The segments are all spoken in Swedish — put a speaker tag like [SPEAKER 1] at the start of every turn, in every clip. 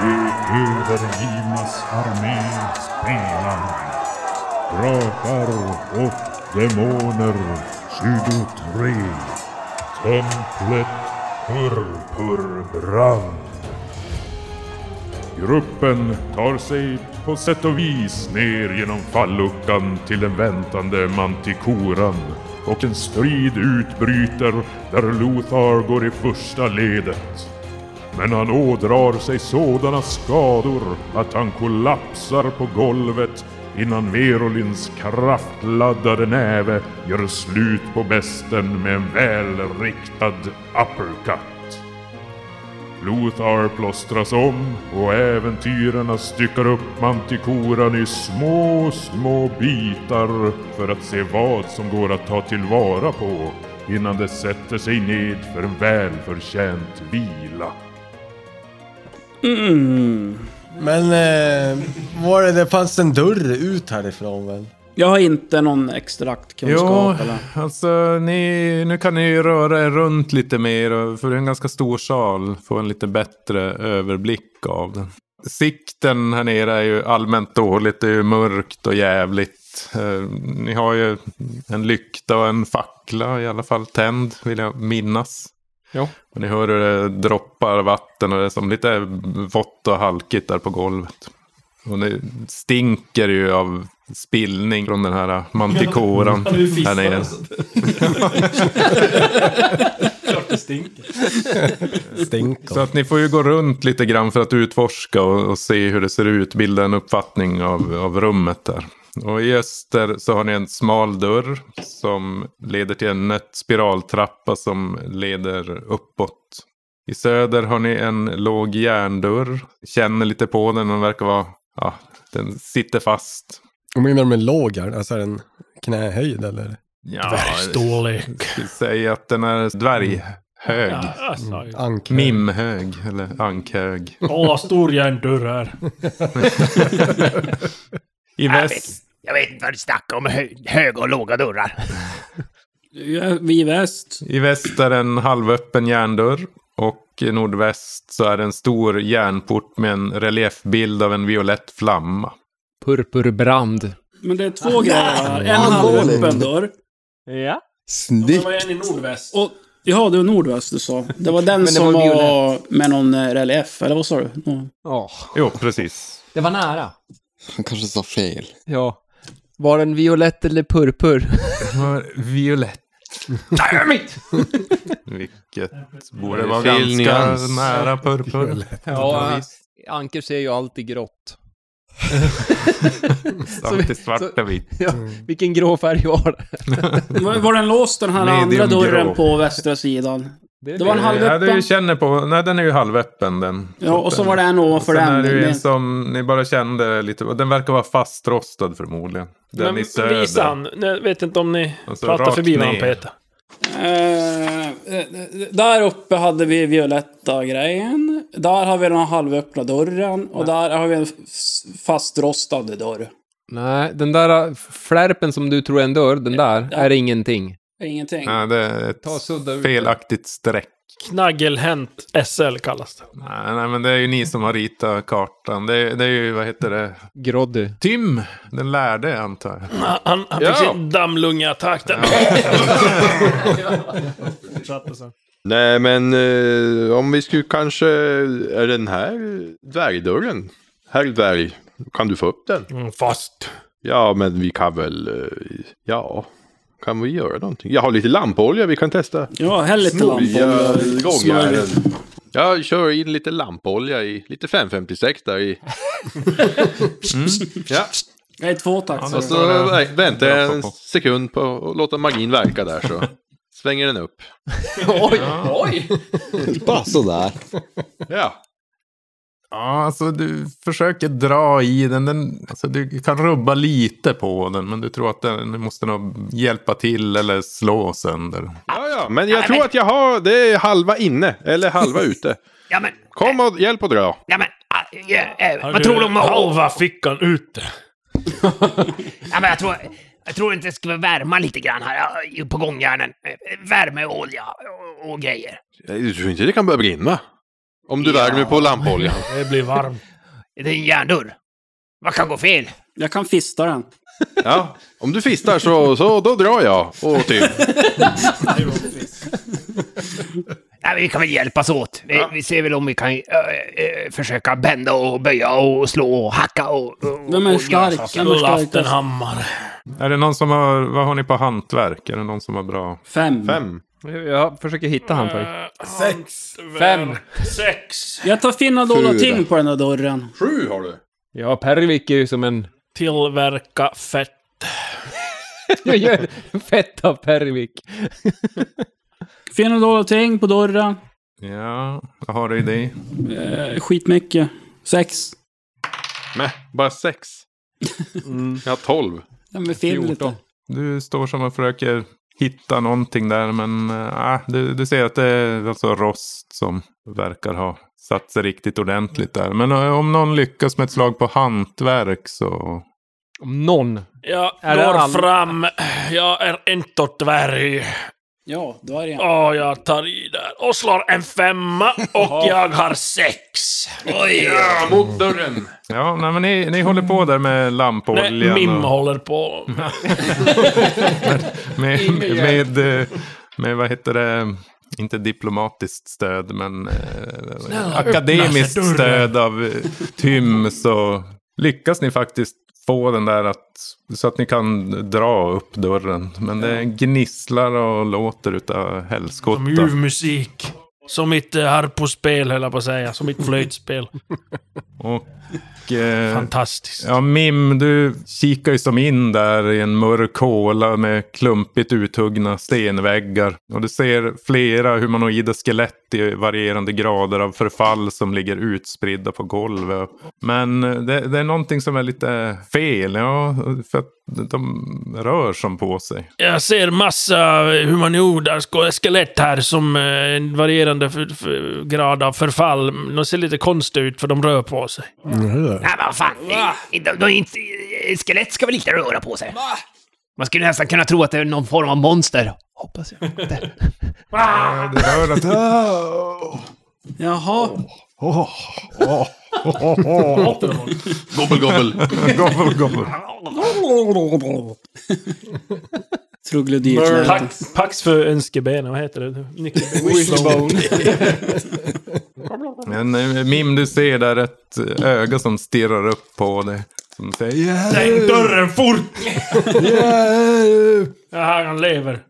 [SPEAKER 1] De övergivnas armé spelar. Drakar och demoner 23. Templet Purpurbrand. Gruppen tar sig på sätt och vis ner genom falluckan till den väntande mantikoran och en strid utbryter där Lothar går i första ledet. Men han ådrar sig sådana skador att han kollapsar på golvet innan Merolins kraftladdade näve gör slut på besten med en välriktad uppercut. Lothar plåstras om och äventyrarna styckar upp mantikoran i små, små bitar för att se vad som går att ta tillvara på innan det sätter sig ned för en välförtjänt vila.
[SPEAKER 2] Men eh, var det, det fanns en dörr ut härifrån väl?
[SPEAKER 3] Jag har inte någon extraktkunskap eller...
[SPEAKER 4] alltså ni, nu kan ni ju röra er runt lite mer. och- För det är en ganska stor sal. Få en lite bättre överblick av den. Sikten här nere är ju allmänt dåligt. Det är ju mörkt och jävligt. Eh, Ni har ju en lykta och en fackla i alla fall tänd vill jag minnas.
[SPEAKER 5] Jo.
[SPEAKER 4] Och ni hör hur det droppar vatten och det är som lite vått och halkigt där på golvet. Och det stinker ju av spillning från den här mantikoran
[SPEAKER 5] Han är ju
[SPEAKER 4] här nere.
[SPEAKER 5] fissare. så att- Klart det stinker.
[SPEAKER 2] Stink.
[SPEAKER 4] Så att ni får ju gå runt lite grann för att utforska och, och se hur det ser ut. Bilda en uppfattning av, av rummet där. Och i öster så har ni en smal dörr som leder till en nött spiraltrappa som leder uppåt. I söder har ni en låg järndörr. Känner lite på den, den verkar vara... Ja, den sitter fast.
[SPEAKER 2] Jag menar med låg här, alltså är den knähöjd eller?
[SPEAKER 4] Ja,
[SPEAKER 6] Dvärgstorlek.
[SPEAKER 4] jag skulle säga att den är dvärghög.
[SPEAKER 6] Alltså,
[SPEAKER 7] Mm.
[SPEAKER 2] Ankel.
[SPEAKER 4] Mimhög eller ankhög.
[SPEAKER 6] Åh, stor järndörr här.
[SPEAKER 4] I väst
[SPEAKER 8] Jag vet inte vad du snackar om, hö höga och låga dörrar.
[SPEAKER 3] Ja, Vi i väst.
[SPEAKER 4] I väst är en halvöppen järndörr. Och i nordväst så är det en stor järnport med en reliefbild av en violett flamma.
[SPEAKER 5] Purpurbrand.
[SPEAKER 3] Men det är
[SPEAKER 9] Ah,
[SPEAKER 3] två grejer här. En halvöppen dörr.
[SPEAKER 5] Ja.
[SPEAKER 6] Det
[SPEAKER 9] Snyggt.
[SPEAKER 6] var en i nordväst.
[SPEAKER 3] Och, ja, det var nordväst du sa. Det var den
[SPEAKER 9] det
[SPEAKER 3] som
[SPEAKER 9] var
[SPEAKER 3] var,
[SPEAKER 9] violett.
[SPEAKER 3] med någon eh, relief, eller vad sa du? Ja.
[SPEAKER 5] Ja.
[SPEAKER 4] Jo, precis.
[SPEAKER 5] Det var nära.
[SPEAKER 9] Han kanske sa fel.
[SPEAKER 5] Ja. Var den violett eller purpur?
[SPEAKER 4] Violett. Vilket borde vara
[SPEAKER 10] Fel
[SPEAKER 4] ganska
[SPEAKER 10] nyans.
[SPEAKER 4] nära purpur.
[SPEAKER 5] Ja, Anker ser ju alltid grått.
[SPEAKER 4] Alltid svart och vitt.
[SPEAKER 5] Ja,
[SPEAKER 9] Mm.
[SPEAKER 5] vilken grå färg var det?
[SPEAKER 3] Var, var den låst den här
[SPEAKER 4] Mm. Medium
[SPEAKER 3] andra dörren
[SPEAKER 4] grå.
[SPEAKER 3] på västra sidan? Det var en
[SPEAKER 4] Ja,
[SPEAKER 3] halvöppen.
[SPEAKER 4] du känner på... Nej, den är ju halvöppen den.
[SPEAKER 3] Ja, och så var det en ovanför
[SPEAKER 4] Sen är
[SPEAKER 3] den.
[SPEAKER 4] det ju en
[SPEAKER 3] Men,
[SPEAKER 4] som ni bara kände lite... och Den verkar vara fastrostad förmodligen. Den i söder.
[SPEAKER 7] Visa han. Jag vet inte om ni
[SPEAKER 4] Alltså,
[SPEAKER 7] pratar
[SPEAKER 4] rakt
[SPEAKER 7] förbi vad han
[SPEAKER 4] ner.
[SPEAKER 7] petar.
[SPEAKER 3] Eh, eh, där uppe hade vi violetta grejen. Där har vi den här halvöppna dörren. Och där har vi en f- fastrostad dörr.
[SPEAKER 5] Nej, den där äh, flärpen som du tror är en dörr, den där, är ingenting.
[SPEAKER 3] Ingenting.
[SPEAKER 4] Nej, det är ett
[SPEAKER 5] Ta och sudda ut det.
[SPEAKER 4] felaktigt streck.
[SPEAKER 7] Knaggelhänt SL kallas det.
[SPEAKER 4] Nej, nej, men det är ju ni som har ritat kartan. Det är, det är ju, vad heter det?
[SPEAKER 5] Groddy.
[SPEAKER 4] Tim, den lärde antar jag.
[SPEAKER 7] Han, han, han
[SPEAKER 10] Ja.
[SPEAKER 7] fick sin dammlungeattack där. Fortsatte sen.
[SPEAKER 10] Nej, men eh, om vi skulle kanske... Är den här dvärgdörren? Herr dvärg, kan du få upp den?
[SPEAKER 7] Mm, fast.
[SPEAKER 10] Ja, men vi kan väl... eh, Ja, kan vi göra någonting? Jag har lite lampolja vi kan testa.
[SPEAKER 3] Ja, häll lite
[SPEAKER 10] Smörja gångjärnen.
[SPEAKER 3] lampor.
[SPEAKER 10] Jag kör in lite lampolja i, lite 556 där i. Mm. Ja,
[SPEAKER 3] Nej, två tack.
[SPEAKER 4] Ja,
[SPEAKER 3] sa
[SPEAKER 10] och
[SPEAKER 3] du.
[SPEAKER 10] så vä- väntar jag en
[SPEAKER 4] Bra.
[SPEAKER 10] sekund på att låta magin verka där så svänger den upp.
[SPEAKER 5] Oj, oj!
[SPEAKER 9] Bara sådär.
[SPEAKER 10] Ja,
[SPEAKER 4] Ja, alltså du försöker dra i den. den alltså, du kan rubba lite på den, men du tror att den du måste nog hjälpa till eller slå sönder.
[SPEAKER 10] ja, ja. men jag tror att jag har, det är halva inne eller halva ute.
[SPEAKER 8] Ja men,
[SPEAKER 10] Kom och hjälp och dra.
[SPEAKER 8] ja men, ah, ja, eh,
[SPEAKER 7] Har
[SPEAKER 8] vad tror du om att...
[SPEAKER 7] Halva fickan ute.
[SPEAKER 8] Ja, men jag tror... Jag tror inte det skulle värma lite grann här eh, på gångjärnen. Eh, Värme och olja och, och grejer.
[SPEAKER 10] Jag tror inte det kan börja brinna. Om du värmer på lampoljan.
[SPEAKER 7] Det blir varmt.
[SPEAKER 8] Det är en järndörr. Vad kan gå fel?
[SPEAKER 3] Jag kan fista den.
[SPEAKER 10] Ja, om du fistar så, så då drar jag. Och typ.
[SPEAKER 8] Nej, men vi kan väl hjälpas åt. Vi, vi ser väl om vi kan eh, eh, försöka bända och böja och slå och hacka och... och
[SPEAKER 3] Vem är
[SPEAKER 8] och göra
[SPEAKER 7] Alltså,
[SPEAKER 3] stark?
[SPEAKER 8] saker.
[SPEAKER 3] Vem är starkast?
[SPEAKER 7] Ulaftenhammare.
[SPEAKER 4] Är det någon som har, vad har ni på hantverk? Är det någon som har bra?
[SPEAKER 3] Fem.
[SPEAKER 10] Fem.
[SPEAKER 5] Jag försöker hitta hantverk.
[SPEAKER 7] Sex.
[SPEAKER 5] Fem.
[SPEAKER 7] Sex.
[SPEAKER 3] Jag tar finna dolda
[SPEAKER 9] Fyra.
[SPEAKER 3] ting på den där dörren.
[SPEAKER 10] Sju har du.
[SPEAKER 5] Ja, Pervik är ju som en...
[SPEAKER 7] Tillverka fett.
[SPEAKER 5] Jag gör fett av Pervik.
[SPEAKER 3] Finna dolda ting på dörren.
[SPEAKER 4] Ja, vad har du i det?
[SPEAKER 3] Eh, Skitmycket. Sex.
[SPEAKER 10] Nej, bara sex. Jag har tolv.
[SPEAKER 3] Den är fel lite.
[SPEAKER 4] Du står som och försöker hitta någonting där, men äh, du, du ser att det är alltså rost som verkar ha satt sig riktigt ordentligt där. Men eh, om någon lyckas med ett slag på hantverk så...
[SPEAKER 5] Om någon.
[SPEAKER 7] Jag
[SPEAKER 5] Är det
[SPEAKER 7] går
[SPEAKER 5] all-
[SPEAKER 7] fram. Jag är inte dvärg.
[SPEAKER 3] Ja, dörren.
[SPEAKER 7] Och jag tar i där. Och slår en femma. Och jag har sex. Oj!
[SPEAKER 10] mot dörren.
[SPEAKER 4] Ja, nej, men ni, ni håller på där med
[SPEAKER 7] Nej,
[SPEAKER 4] lampoljan.
[SPEAKER 7] Mim
[SPEAKER 4] och
[SPEAKER 7] håller på.
[SPEAKER 4] med, med, med, eh, med, vad heter det? Inte diplomatiskt stöd, men eh, akademiskt
[SPEAKER 7] öppna sig dörren.
[SPEAKER 4] stöd av eh, Tym så lyckas ni faktiskt få den där att, så att ni kan dra upp dörren. Men det gnisslar och låter utav
[SPEAKER 7] Som
[SPEAKER 4] helskotta.
[SPEAKER 7] ljuv musik. Som mitt eh, harpospel, höll jag på att säga. Som mitt flöjtspel.
[SPEAKER 4] Och, eh,
[SPEAKER 7] Fantastiskt.
[SPEAKER 4] Ja, Mim, du kikar ju som in där i en mörk håla med klumpigt uthuggna stenväggar. Och du ser flera humanoida skelett i varierande grader av förfall som ligger utspridda på golvet. Men eh, det, det är någonting som är lite fel, ja, för att de rör som på sig.
[SPEAKER 7] Jag ser massa humanoida sk- skelett här som eh, en varierande f- f- grad av förfall. De ser lite konstiga ut för de rör på sig.
[SPEAKER 8] Nej, men vad fan. De, de, de, är inte, skelett ska väl inte röra på sig? Man skulle nästan kunna tro att det är någon form av monster. Hoppas jag. inte.
[SPEAKER 4] Ja, det rör att,
[SPEAKER 3] Jaha.
[SPEAKER 10] Gobbel, gobbel.
[SPEAKER 4] gobbel, gobbel.
[SPEAKER 3] Troglodytlät.
[SPEAKER 7] Pax, pax för önskebenen, vad heter det? Nyckelben.
[SPEAKER 4] Men eh, Mim, du ser där ett öga som stirrar upp på dig. Som säger "Hjälp!"
[SPEAKER 7] Stäng dörren fort! Jaha, han lever.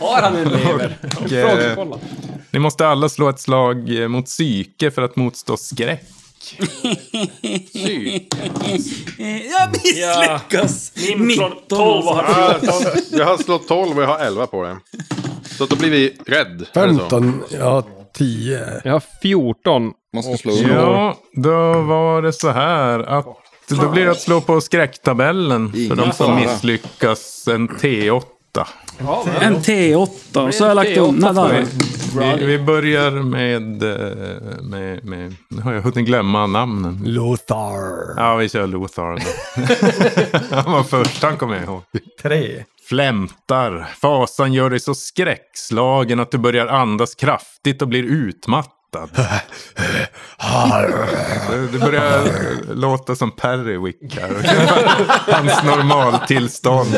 [SPEAKER 3] Har han en lever?
[SPEAKER 4] Och, eh, Ni måste alla slå ett slag eh, mot psyke för att motstå skräck.
[SPEAKER 3] Jag misslyckas! alltså.
[SPEAKER 7] Mim från 12 och har
[SPEAKER 10] Jag har slått tolv och jag har elva på den. Så att då blir vi rädd. är det så?
[SPEAKER 2] 15, ja 10.
[SPEAKER 5] Jag har 14.
[SPEAKER 9] Man ska slå upp.
[SPEAKER 4] Ja, då var det så här att då blir det att slå på skräcktabellen för de som misslyckas en T8.
[SPEAKER 3] En T8. Och så har jag lagt undan
[SPEAKER 4] Vi,
[SPEAKER 3] där.
[SPEAKER 4] vi, vi börjar med, eh, med, med... Nu har jag hunnit glömma namnen.
[SPEAKER 2] Lothar.
[SPEAKER 4] Ja, vi kör Lothar då. Han var först, han kommer jag ihåg.
[SPEAKER 2] Tre.
[SPEAKER 4] Flämtar. Fasan gör dig så skräckslagen att du börjar andas kraftigt och blir utmattad. Det- Det börjar låta som Perrywick här. Hans normaltillstånd.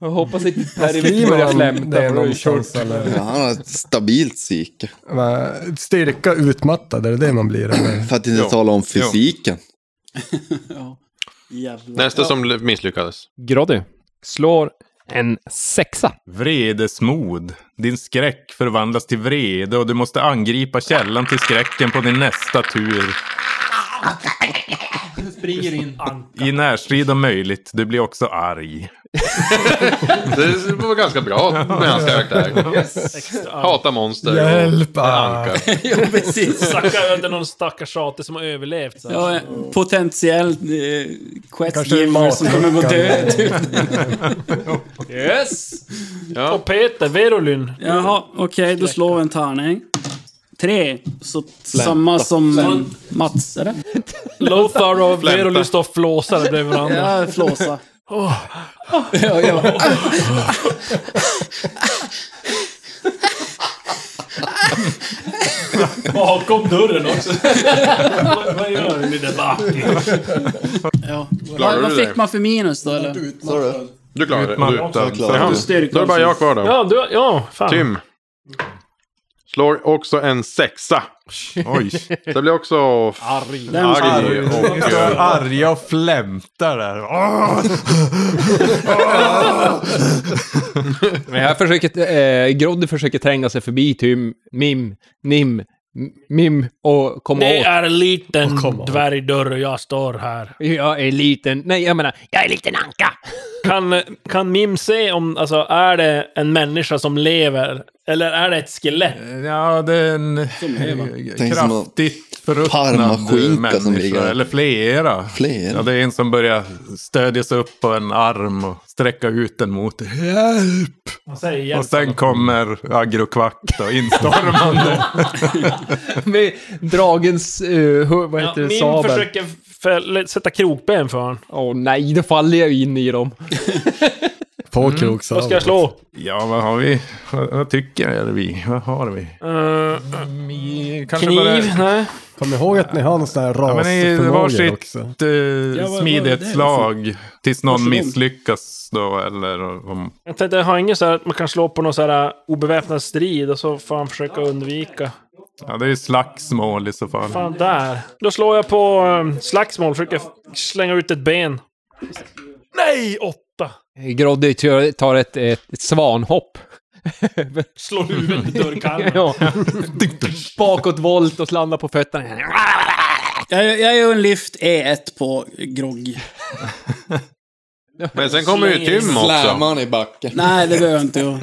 [SPEAKER 5] Jag hoppas inte Pervik börjar flämta.
[SPEAKER 2] där
[SPEAKER 5] för då är det kört.
[SPEAKER 2] någonstans eller?
[SPEAKER 9] Ja, han har ett stabilt psyke.
[SPEAKER 2] Va, eh, Styrka utmattad, är det det man blir? Eller?
[SPEAKER 9] För att inte
[SPEAKER 4] Ja.
[SPEAKER 9] tala om fysiken.
[SPEAKER 3] Jävlar.
[SPEAKER 10] Nästa som misslyckades.
[SPEAKER 5] Groddy slår en sexa.
[SPEAKER 4] Vredesmod. Din skräck förvandlas till vrede och du måste angripa källan till skräcken på din nästa tur.
[SPEAKER 7] springer in Anka.
[SPEAKER 4] I närstrid om möjligt. Du blir också arg.
[SPEAKER 10] Det var ganska bra med hans karaktär. Hata monster.
[SPEAKER 2] Hjälp!
[SPEAKER 10] Anka.
[SPEAKER 3] Ja, precis.
[SPEAKER 7] Stackar öde någon stackars ate som har överlevt. Så. här.
[SPEAKER 3] Ja, potentiell eh,
[SPEAKER 2] Kanske en
[SPEAKER 3] questgiver som kommer gå dö. Typ.
[SPEAKER 7] Yes!
[SPEAKER 10] Ja.
[SPEAKER 7] Och Peter, Verolyn.
[SPEAKER 3] Jaha, okej, då slår vi en tärning. Tre. Så samma som eh, Mats, eller?
[SPEAKER 7] Lothar och Verolyn står och flåsar bredvid varandra.
[SPEAKER 3] Ja, flåsa. Ja, ja.
[SPEAKER 6] Bakom dörren också. vad, vad gör ni där bak?
[SPEAKER 3] Ja.
[SPEAKER 10] Klarar
[SPEAKER 3] Vad,
[SPEAKER 10] du
[SPEAKER 3] vad
[SPEAKER 10] det?
[SPEAKER 3] fick man för minus då eller?
[SPEAKER 9] Sa du?
[SPEAKER 10] Du klarar det. Du.
[SPEAKER 4] Utmattad.
[SPEAKER 9] Jag klarar
[SPEAKER 10] Ja.
[SPEAKER 9] det.
[SPEAKER 10] Då är det bara jag kvar då.
[SPEAKER 7] Ja, du, ja, fan.
[SPEAKER 10] Tim. Slår också en sexa.
[SPEAKER 4] Oj.
[SPEAKER 10] Det blir också arg, arg och... eh,
[SPEAKER 11] Arga och flämtar där.
[SPEAKER 5] Men här försöker, eh, Groddy försöker tränga sig förbi Tim, Mim, Nim, M- Mim och komma
[SPEAKER 7] Det
[SPEAKER 5] åt.
[SPEAKER 7] är en liten dvärgdörr och jag står här.
[SPEAKER 5] Jag är liten. Nej, jag menar,
[SPEAKER 8] Jag är lite anka.
[SPEAKER 7] Kan, kan Mim se om, alltså, är det en människa som lever? Eller är det ett skelett?
[SPEAKER 6] Eh,
[SPEAKER 4] Ja, det är en
[SPEAKER 9] Tänk som att-
[SPEAKER 4] kraftigt förruttnad
[SPEAKER 9] Parmaskinka som ligger
[SPEAKER 4] människa.
[SPEAKER 9] där.
[SPEAKER 4] Eller flera.
[SPEAKER 9] Flera?
[SPEAKER 4] Ja, det är en som börjar stödja sig upp på en arm och sträcka ut den mot dig. Hjälp!
[SPEAKER 7] Vad säger jag?
[SPEAKER 4] Och sen kommer agrokvack då, instormande.
[SPEAKER 5] med dragens, eh, hu- vad heter
[SPEAKER 7] Ja,
[SPEAKER 5] det,
[SPEAKER 7] Mim
[SPEAKER 5] sabel.
[SPEAKER 7] försöker fälla- sätta krokben för honom.
[SPEAKER 5] Åh nej, då faller jag in i dem.
[SPEAKER 2] På krok så.
[SPEAKER 7] Vad ska jag slå?
[SPEAKER 4] ja, vad har vi? Vad, vad tycker vi? Vad har vi?
[SPEAKER 7] Eh,
[SPEAKER 3] Mm,
[SPEAKER 4] Mi- Kanske bara-
[SPEAKER 7] kniv? Nej.
[SPEAKER 2] Kom ihåg att ni har någon sån här
[SPEAKER 4] Ja, men det är
[SPEAKER 2] rasförmåga
[SPEAKER 4] varsitt
[SPEAKER 2] också.
[SPEAKER 3] vad
[SPEAKER 4] uh,
[SPEAKER 3] var
[SPEAKER 4] smidighetslag. Tills någon
[SPEAKER 3] Varsågod.
[SPEAKER 4] misslyckas då, eller om...
[SPEAKER 7] Jag tänkte, jag har inget så här att man kan slå på någon så här eh, obeväpnad strid och så får han försöka undvika.
[SPEAKER 4] Ja, det är ju slagsmål i så fall.
[SPEAKER 7] Fan, där. Då slår jag på um, slagsmål, försöker f- slänga ut ett ben. Nej, åtta!
[SPEAKER 5] Groddy tör- tar ett, ett, ett svanhopp.
[SPEAKER 7] Slår huvudet i dörrkarmen.
[SPEAKER 5] ja. Bakåtvolt och landar på fötterna.
[SPEAKER 3] Jag, jag gör en lyft E1 på grogg.
[SPEAKER 10] Men sen kommer ju Tim också.
[SPEAKER 9] Slammar han i backen.
[SPEAKER 3] Nej, det behöver jag inte göra.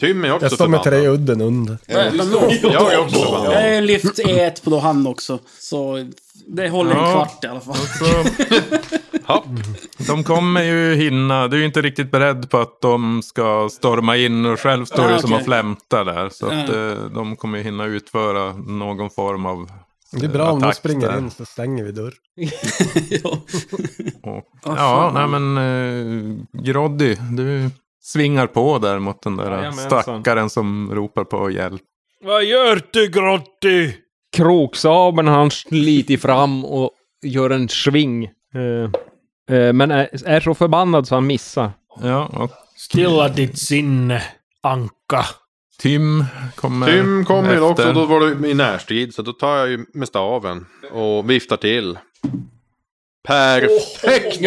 [SPEAKER 10] Tim är också
[SPEAKER 2] Jag står med
[SPEAKER 10] förbannad.
[SPEAKER 2] tre i udden under.
[SPEAKER 10] Jag är också förbannad.
[SPEAKER 3] Jag gör en lyft E1 på då han också. Så det håller en
[SPEAKER 4] Ja.
[SPEAKER 3] kvart i alla fall.
[SPEAKER 4] Så,
[SPEAKER 10] Ja.
[SPEAKER 4] de kommer ju hinna. Du är ju inte riktigt beredd på att de ska storma in och själv står du
[SPEAKER 3] Ah,
[SPEAKER 4] som
[SPEAKER 3] okej.
[SPEAKER 4] och flämtar där. Så att eh, de kommer ju hinna utföra någon form av...
[SPEAKER 2] Det är bra om du
[SPEAKER 4] Attack
[SPEAKER 2] springer
[SPEAKER 4] där.
[SPEAKER 2] in så stänger vi dörr.
[SPEAKER 3] ja.
[SPEAKER 4] Och,
[SPEAKER 3] Ah,
[SPEAKER 4] ja,
[SPEAKER 3] fan.
[SPEAKER 4] nej men eh, Groddy, du svingar på där mot den där
[SPEAKER 11] Jajamensan.
[SPEAKER 4] stackaren som ropar på hjälp.
[SPEAKER 7] Vad gör du, Grotti?
[SPEAKER 5] Kroksabeln han sliter fram och gör en sving. Eh, eh, men är, är så förbannad så han missar.
[SPEAKER 4] Ja, och
[SPEAKER 7] Stilla ditt sinne, Anka.
[SPEAKER 4] Tim kommer
[SPEAKER 10] Tim kommer ju också.
[SPEAKER 4] efter.
[SPEAKER 10] Då var du i närstrid. Så då tar jag ju med staven. Och viftar till. Perfekt!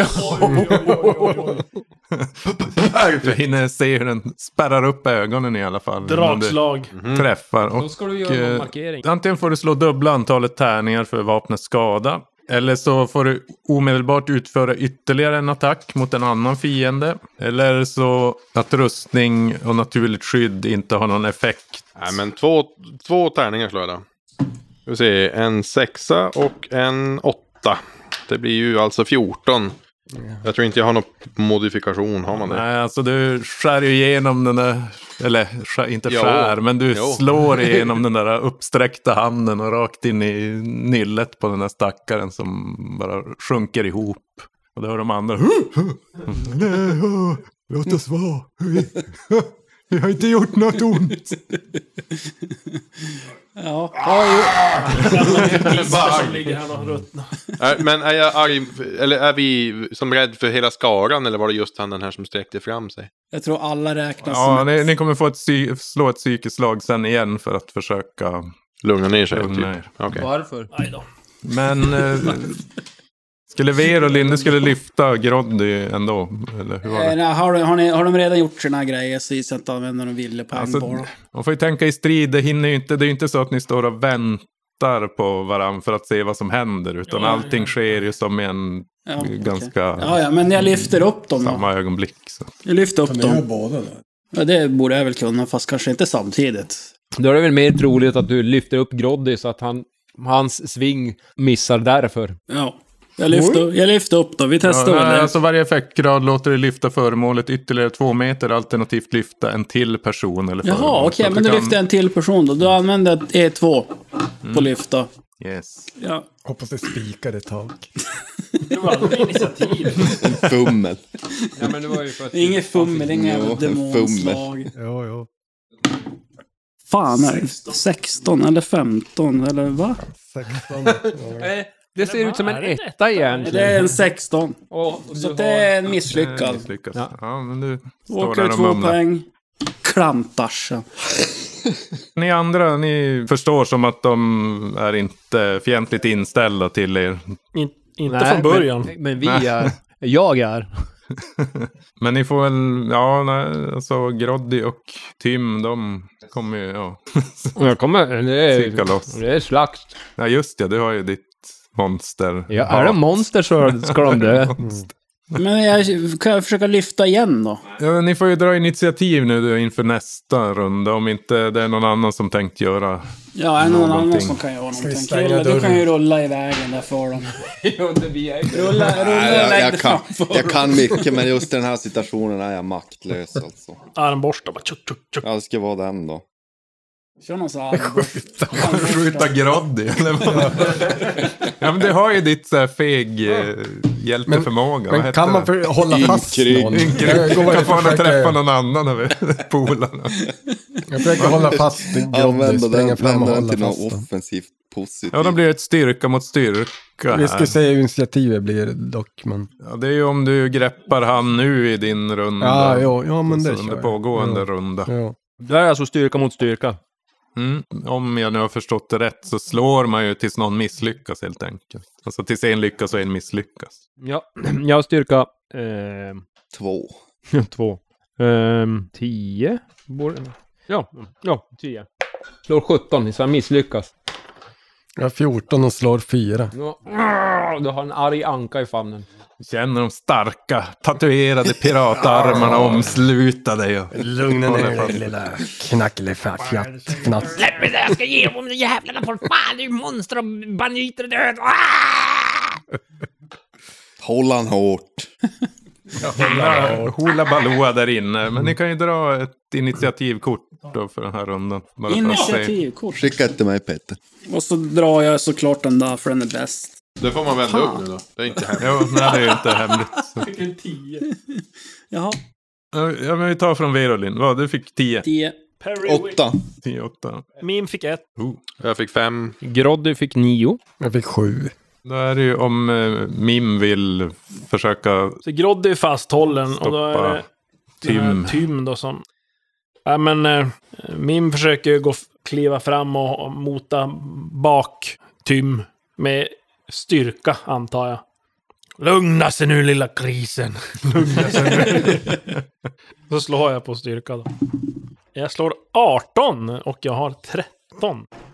[SPEAKER 4] Du hinner se hur den spärrar upp ögonen i alla fall. innan du
[SPEAKER 7] Dragslag.
[SPEAKER 10] Mm.
[SPEAKER 4] Träffar. Och
[SPEAKER 5] Då ska du
[SPEAKER 4] någon
[SPEAKER 5] göra
[SPEAKER 4] eh,
[SPEAKER 5] en markering.
[SPEAKER 4] Antingen får du slå dubbla antalet tärningar för vapnets skada. Eller så får du omedelbart utföra ytterligare en attack mot en annan fiende. Eller så att rustning och naturligt skydd inte har någon effekt.
[SPEAKER 10] Nej men två, två tärningar slår jag då. Ska vi se. En sexa och en åtta. Det blir ju alltså 14. Jag tror inte jag har någon modifikation. Har man det?
[SPEAKER 4] Nej, alltså du skär ju igenom den där, eller skär, inte
[SPEAKER 10] Jo.
[SPEAKER 4] skär, men du
[SPEAKER 10] Jo.
[SPEAKER 4] slår igenom den där uppsträckta handen och rakt in i nyllet på den där stackaren som bara sjunker ihop. Och då hör de andra. Nej, åh, låt oss vara. Vi, vi har inte gjort något ont.
[SPEAKER 3] Ja.
[SPEAKER 7] Som ligger här och ruttnar.
[SPEAKER 10] Är, men är jag arg, eller är vi som rädd för hela skaran eller var det just han den här som sträckte fram sig?
[SPEAKER 3] Jag tror alla räknas
[SPEAKER 4] Ja,
[SPEAKER 3] som...
[SPEAKER 4] ni, ni kommer få ett psy- slå ett psykiskt slag sen igen för att försöka
[SPEAKER 10] Lugna ner sig.
[SPEAKER 4] Lugna
[SPEAKER 10] typ.
[SPEAKER 4] er.
[SPEAKER 10] Okej.
[SPEAKER 5] Varför?
[SPEAKER 7] Aj då.
[SPEAKER 4] Men eh, skulle Ver och Linde skulle lyfta Groddy ändå? Eller hur var
[SPEAKER 3] Eh,
[SPEAKER 4] det?
[SPEAKER 3] nej, har, har, ni, har de redan gjort sina grejer så gissar jag inte att de använder någon vilja på
[SPEAKER 4] Alltså,
[SPEAKER 3] en bara.
[SPEAKER 4] man får ju tänka i strid, det hinner ju inte, det är ju inte så att ni står och väntar på varandra för att se vad som händer, utan allting sker ju som i en
[SPEAKER 3] Ja, okej.
[SPEAKER 4] ganska
[SPEAKER 3] Ja, ja, men jag lyfter upp dem då.
[SPEAKER 4] samma ögonblick. Så.
[SPEAKER 3] Jag lyfter upp dem.
[SPEAKER 2] båda då?
[SPEAKER 3] Ja, det borde jag väl kunna, fast kanske inte samtidigt.
[SPEAKER 5] Då är det väl mer troligt att du lyfter upp Groddy så att han, hans sving missar därför.
[SPEAKER 3] Ja. Jag lyfter, jag lyfter upp dem. Vi
[SPEAKER 4] Ja,
[SPEAKER 3] testar väl
[SPEAKER 4] nej,
[SPEAKER 3] det.
[SPEAKER 4] alltså varje effektgrad låter dig lyfta föremålet ytterligare två meter, alternativt lyfta en till person eller föremål.
[SPEAKER 3] Jaha, okej,
[SPEAKER 4] Så att
[SPEAKER 3] men
[SPEAKER 4] du
[SPEAKER 3] då
[SPEAKER 4] kan-
[SPEAKER 3] lyfter jag en till person då. Då använder jag ett E2 på
[SPEAKER 4] Mm.
[SPEAKER 3] lyfta.
[SPEAKER 4] Yes.
[SPEAKER 3] Ja.
[SPEAKER 2] Hoppas det spikar ett tag.
[SPEAKER 9] Fummel.
[SPEAKER 5] Ja, men det var ju för att...
[SPEAKER 3] Inget fummel, inga
[SPEAKER 9] Jo, en
[SPEAKER 3] demonslag.
[SPEAKER 2] Jo, jo.
[SPEAKER 3] fan är det? 16 eller 15 eller va?
[SPEAKER 5] 16. det ser ut som en etta egentligen.
[SPEAKER 3] Det är en 16. så det är en misslyckad.
[SPEAKER 4] Misslyckas. Ja. men du står
[SPEAKER 3] Åker
[SPEAKER 4] där och
[SPEAKER 3] två
[SPEAKER 4] mumlar.
[SPEAKER 3] poäng. Klantarsen.
[SPEAKER 4] Ni andra, ni förstår som att de är inte fientligt inställda till er.
[SPEAKER 7] inte
[SPEAKER 5] Nej,
[SPEAKER 7] från början.
[SPEAKER 5] Men, men vi
[SPEAKER 4] Nej.
[SPEAKER 5] är... Jag är.
[SPEAKER 4] Men ni får väl, ja, nej, alltså Groddy och Tim, de kommer ju, ja.
[SPEAKER 5] Jag kommer, det är-
[SPEAKER 4] Cirka loss.
[SPEAKER 5] Det är slakt.
[SPEAKER 4] Ja, just det, du har ju ditt monster.
[SPEAKER 5] Ja, är det monster så ska de dö.
[SPEAKER 3] Men jag, kan jag försöka lyfta igen då?
[SPEAKER 4] Ja, men ni får ju dra initiativ nu då inför nästa runda, om inte det är någon annan som tänkt göra
[SPEAKER 3] Ja, är det någon annan
[SPEAKER 4] Någonting.
[SPEAKER 3] som kan göra någonting?
[SPEAKER 5] vi stänga
[SPEAKER 3] Krille, du kan
[SPEAKER 5] dörren?
[SPEAKER 3] ju rulla i vägen där för dem. rulla, rulla
[SPEAKER 9] Nej,
[SPEAKER 3] och
[SPEAKER 9] jag,
[SPEAKER 3] lägg
[SPEAKER 9] jag,
[SPEAKER 3] dig
[SPEAKER 9] kan,
[SPEAKER 3] framför.
[SPEAKER 9] jag kan mycket, men just i den här situationen är jag maktlös alltså.
[SPEAKER 7] Armborsta bara tjuk, tjuk, tjuk.
[SPEAKER 9] Ja, det ska vara den då.
[SPEAKER 3] Kör någon sån här...
[SPEAKER 4] Skjuta Groddy, eller vad? ja, men du har ju ditt så här feg eh, hjälteförmåga.
[SPEAKER 2] Men kan man för, hålla fast någon?
[SPEAKER 4] Inkrig.
[SPEAKER 2] går väl
[SPEAKER 4] Kan
[SPEAKER 2] och
[SPEAKER 4] fan
[SPEAKER 2] försöker-
[SPEAKER 4] träffa någon annan av polarna.
[SPEAKER 2] Jag försöker hålla fast Groddy,
[SPEAKER 9] Använda
[SPEAKER 2] springa
[SPEAKER 9] den,
[SPEAKER 2] fram och
[SPEAKER 9] använda den
[SPEAKER 2] hålla
[SPEAKER 9] till
[SPEAKER 2] fast
[SPEAKER 9] något
[SPEAKER 2] den.
[SPEAKER 9] offensivt positivt.
[SPEAKER 4] Ja, då blir det ett styrka mot styrka.
[SPEAKER 2] Vi
[SPEAKER 4] här.
[SPEAKER 2] ska se hur initiativet blir dock, men...
[SPEAKER 4] Ja, det är ju om du greppar han nu i din runda.
[SPEAKER 2] Ja, jo, ja, men det
[SPEAKER 4] Alltså
[SPEAKER 2] kör
[SPEAKER 4] Under
[SPEAKER 2] jag.
[SPEAKER 4] pågående
[SPEAKER 2] Ja.
[SPEAKER 4] runda.
[SPEAKER 2] Ja.
[SPEAKER 5] Det är alltså styrka mot styrka.
[SPEAKER 4] Mm. Om jag nu har förstått det rätt så slår man ju tills någon misslyckas helt enkelt. Alltså tills en lyckas och en misslyckas.
[SPEAKER 5] Ja, jag har styrka... ehm,
[SPEAKER 9] Två.
[SPEAKER 5] Två. Ehm, tio? Borde- Ja, ja, tio. Slår 17, så jag misslyckas.
[SPEAKER 2] Jag har 14 och slår 4.
[SPEAKER 5] Nå- Ah, Du har en arg anka i famnen.
[SPEAKER 4] Känner de starka, tatuerade piratarmarna omsluta dig. och-
[SPEAKER 2] Lugna
[SPEAKER 4] Håller
[SPEAKER 2] ner
[SPEAKER 4] fast.
[SPEAKER 2] dig lilla knackelefjatt. Fnatt.
[SPEAKER 8] Släpp mig där, jag ska ge dem de jävlarna på fan, du monster och banditer och död.
[SPEAKER 9] Håll han hårt.
[SPEAKER 4] Hula, hula Baloo där inne. Men ni kan ju dra ett initiativkort då för den här rundan. Bara för att se.
[SPEAKER 3] Initiativkort.
[SPEAKER 9] Skicka ett till mig Peter.
[SPEAKER 3] Och så drar jag såklart den där för den är bäst.
[SPEAKER 10] Det får man vända
[SPEAKER 3] Fan.
[SPEAKER 10] upp nu då. Det är inte
[SPEAKER 4] Jo,
[SPEAKER 10] hemligt.
[SPEAKER 4] nej, det är ju inte hemligt.
[SPEAKER 6] Vilken tio.
[SPEAKER 3] Jaha,
[SPEAKER 4] Ja, men vi tar från Verolin. Vad, du fick 10?
[SPEAKER 3] 10.
[SPEAKER 9] Åtta.
[SPEAKER 4] 10, 8.
[SPEAKER 7] Min fick ett.
[SPEAKER 4] Jag fick 5.
[SPEAKER 5] Groddy fick nio.
[SPEAKER 2] Jag fick sju.
[SPEAKER 4] Då är det ju om eh, Mim vill försöka
[SPEAKER 7] Så Groddy är fasthållen och då är det
[SPEAKER 4] stoppa Tim.
[SPEAKER 7] eh, Tym då som... Ja, men eh, Mim försöker ju gå, f- kliva fram och och mota bak Tym med styrka, antar jag. Lugna sig nu lilla grisen. Lugna sig nu. Så slår jag på styrka då. Jag slår 18 och jag har 13.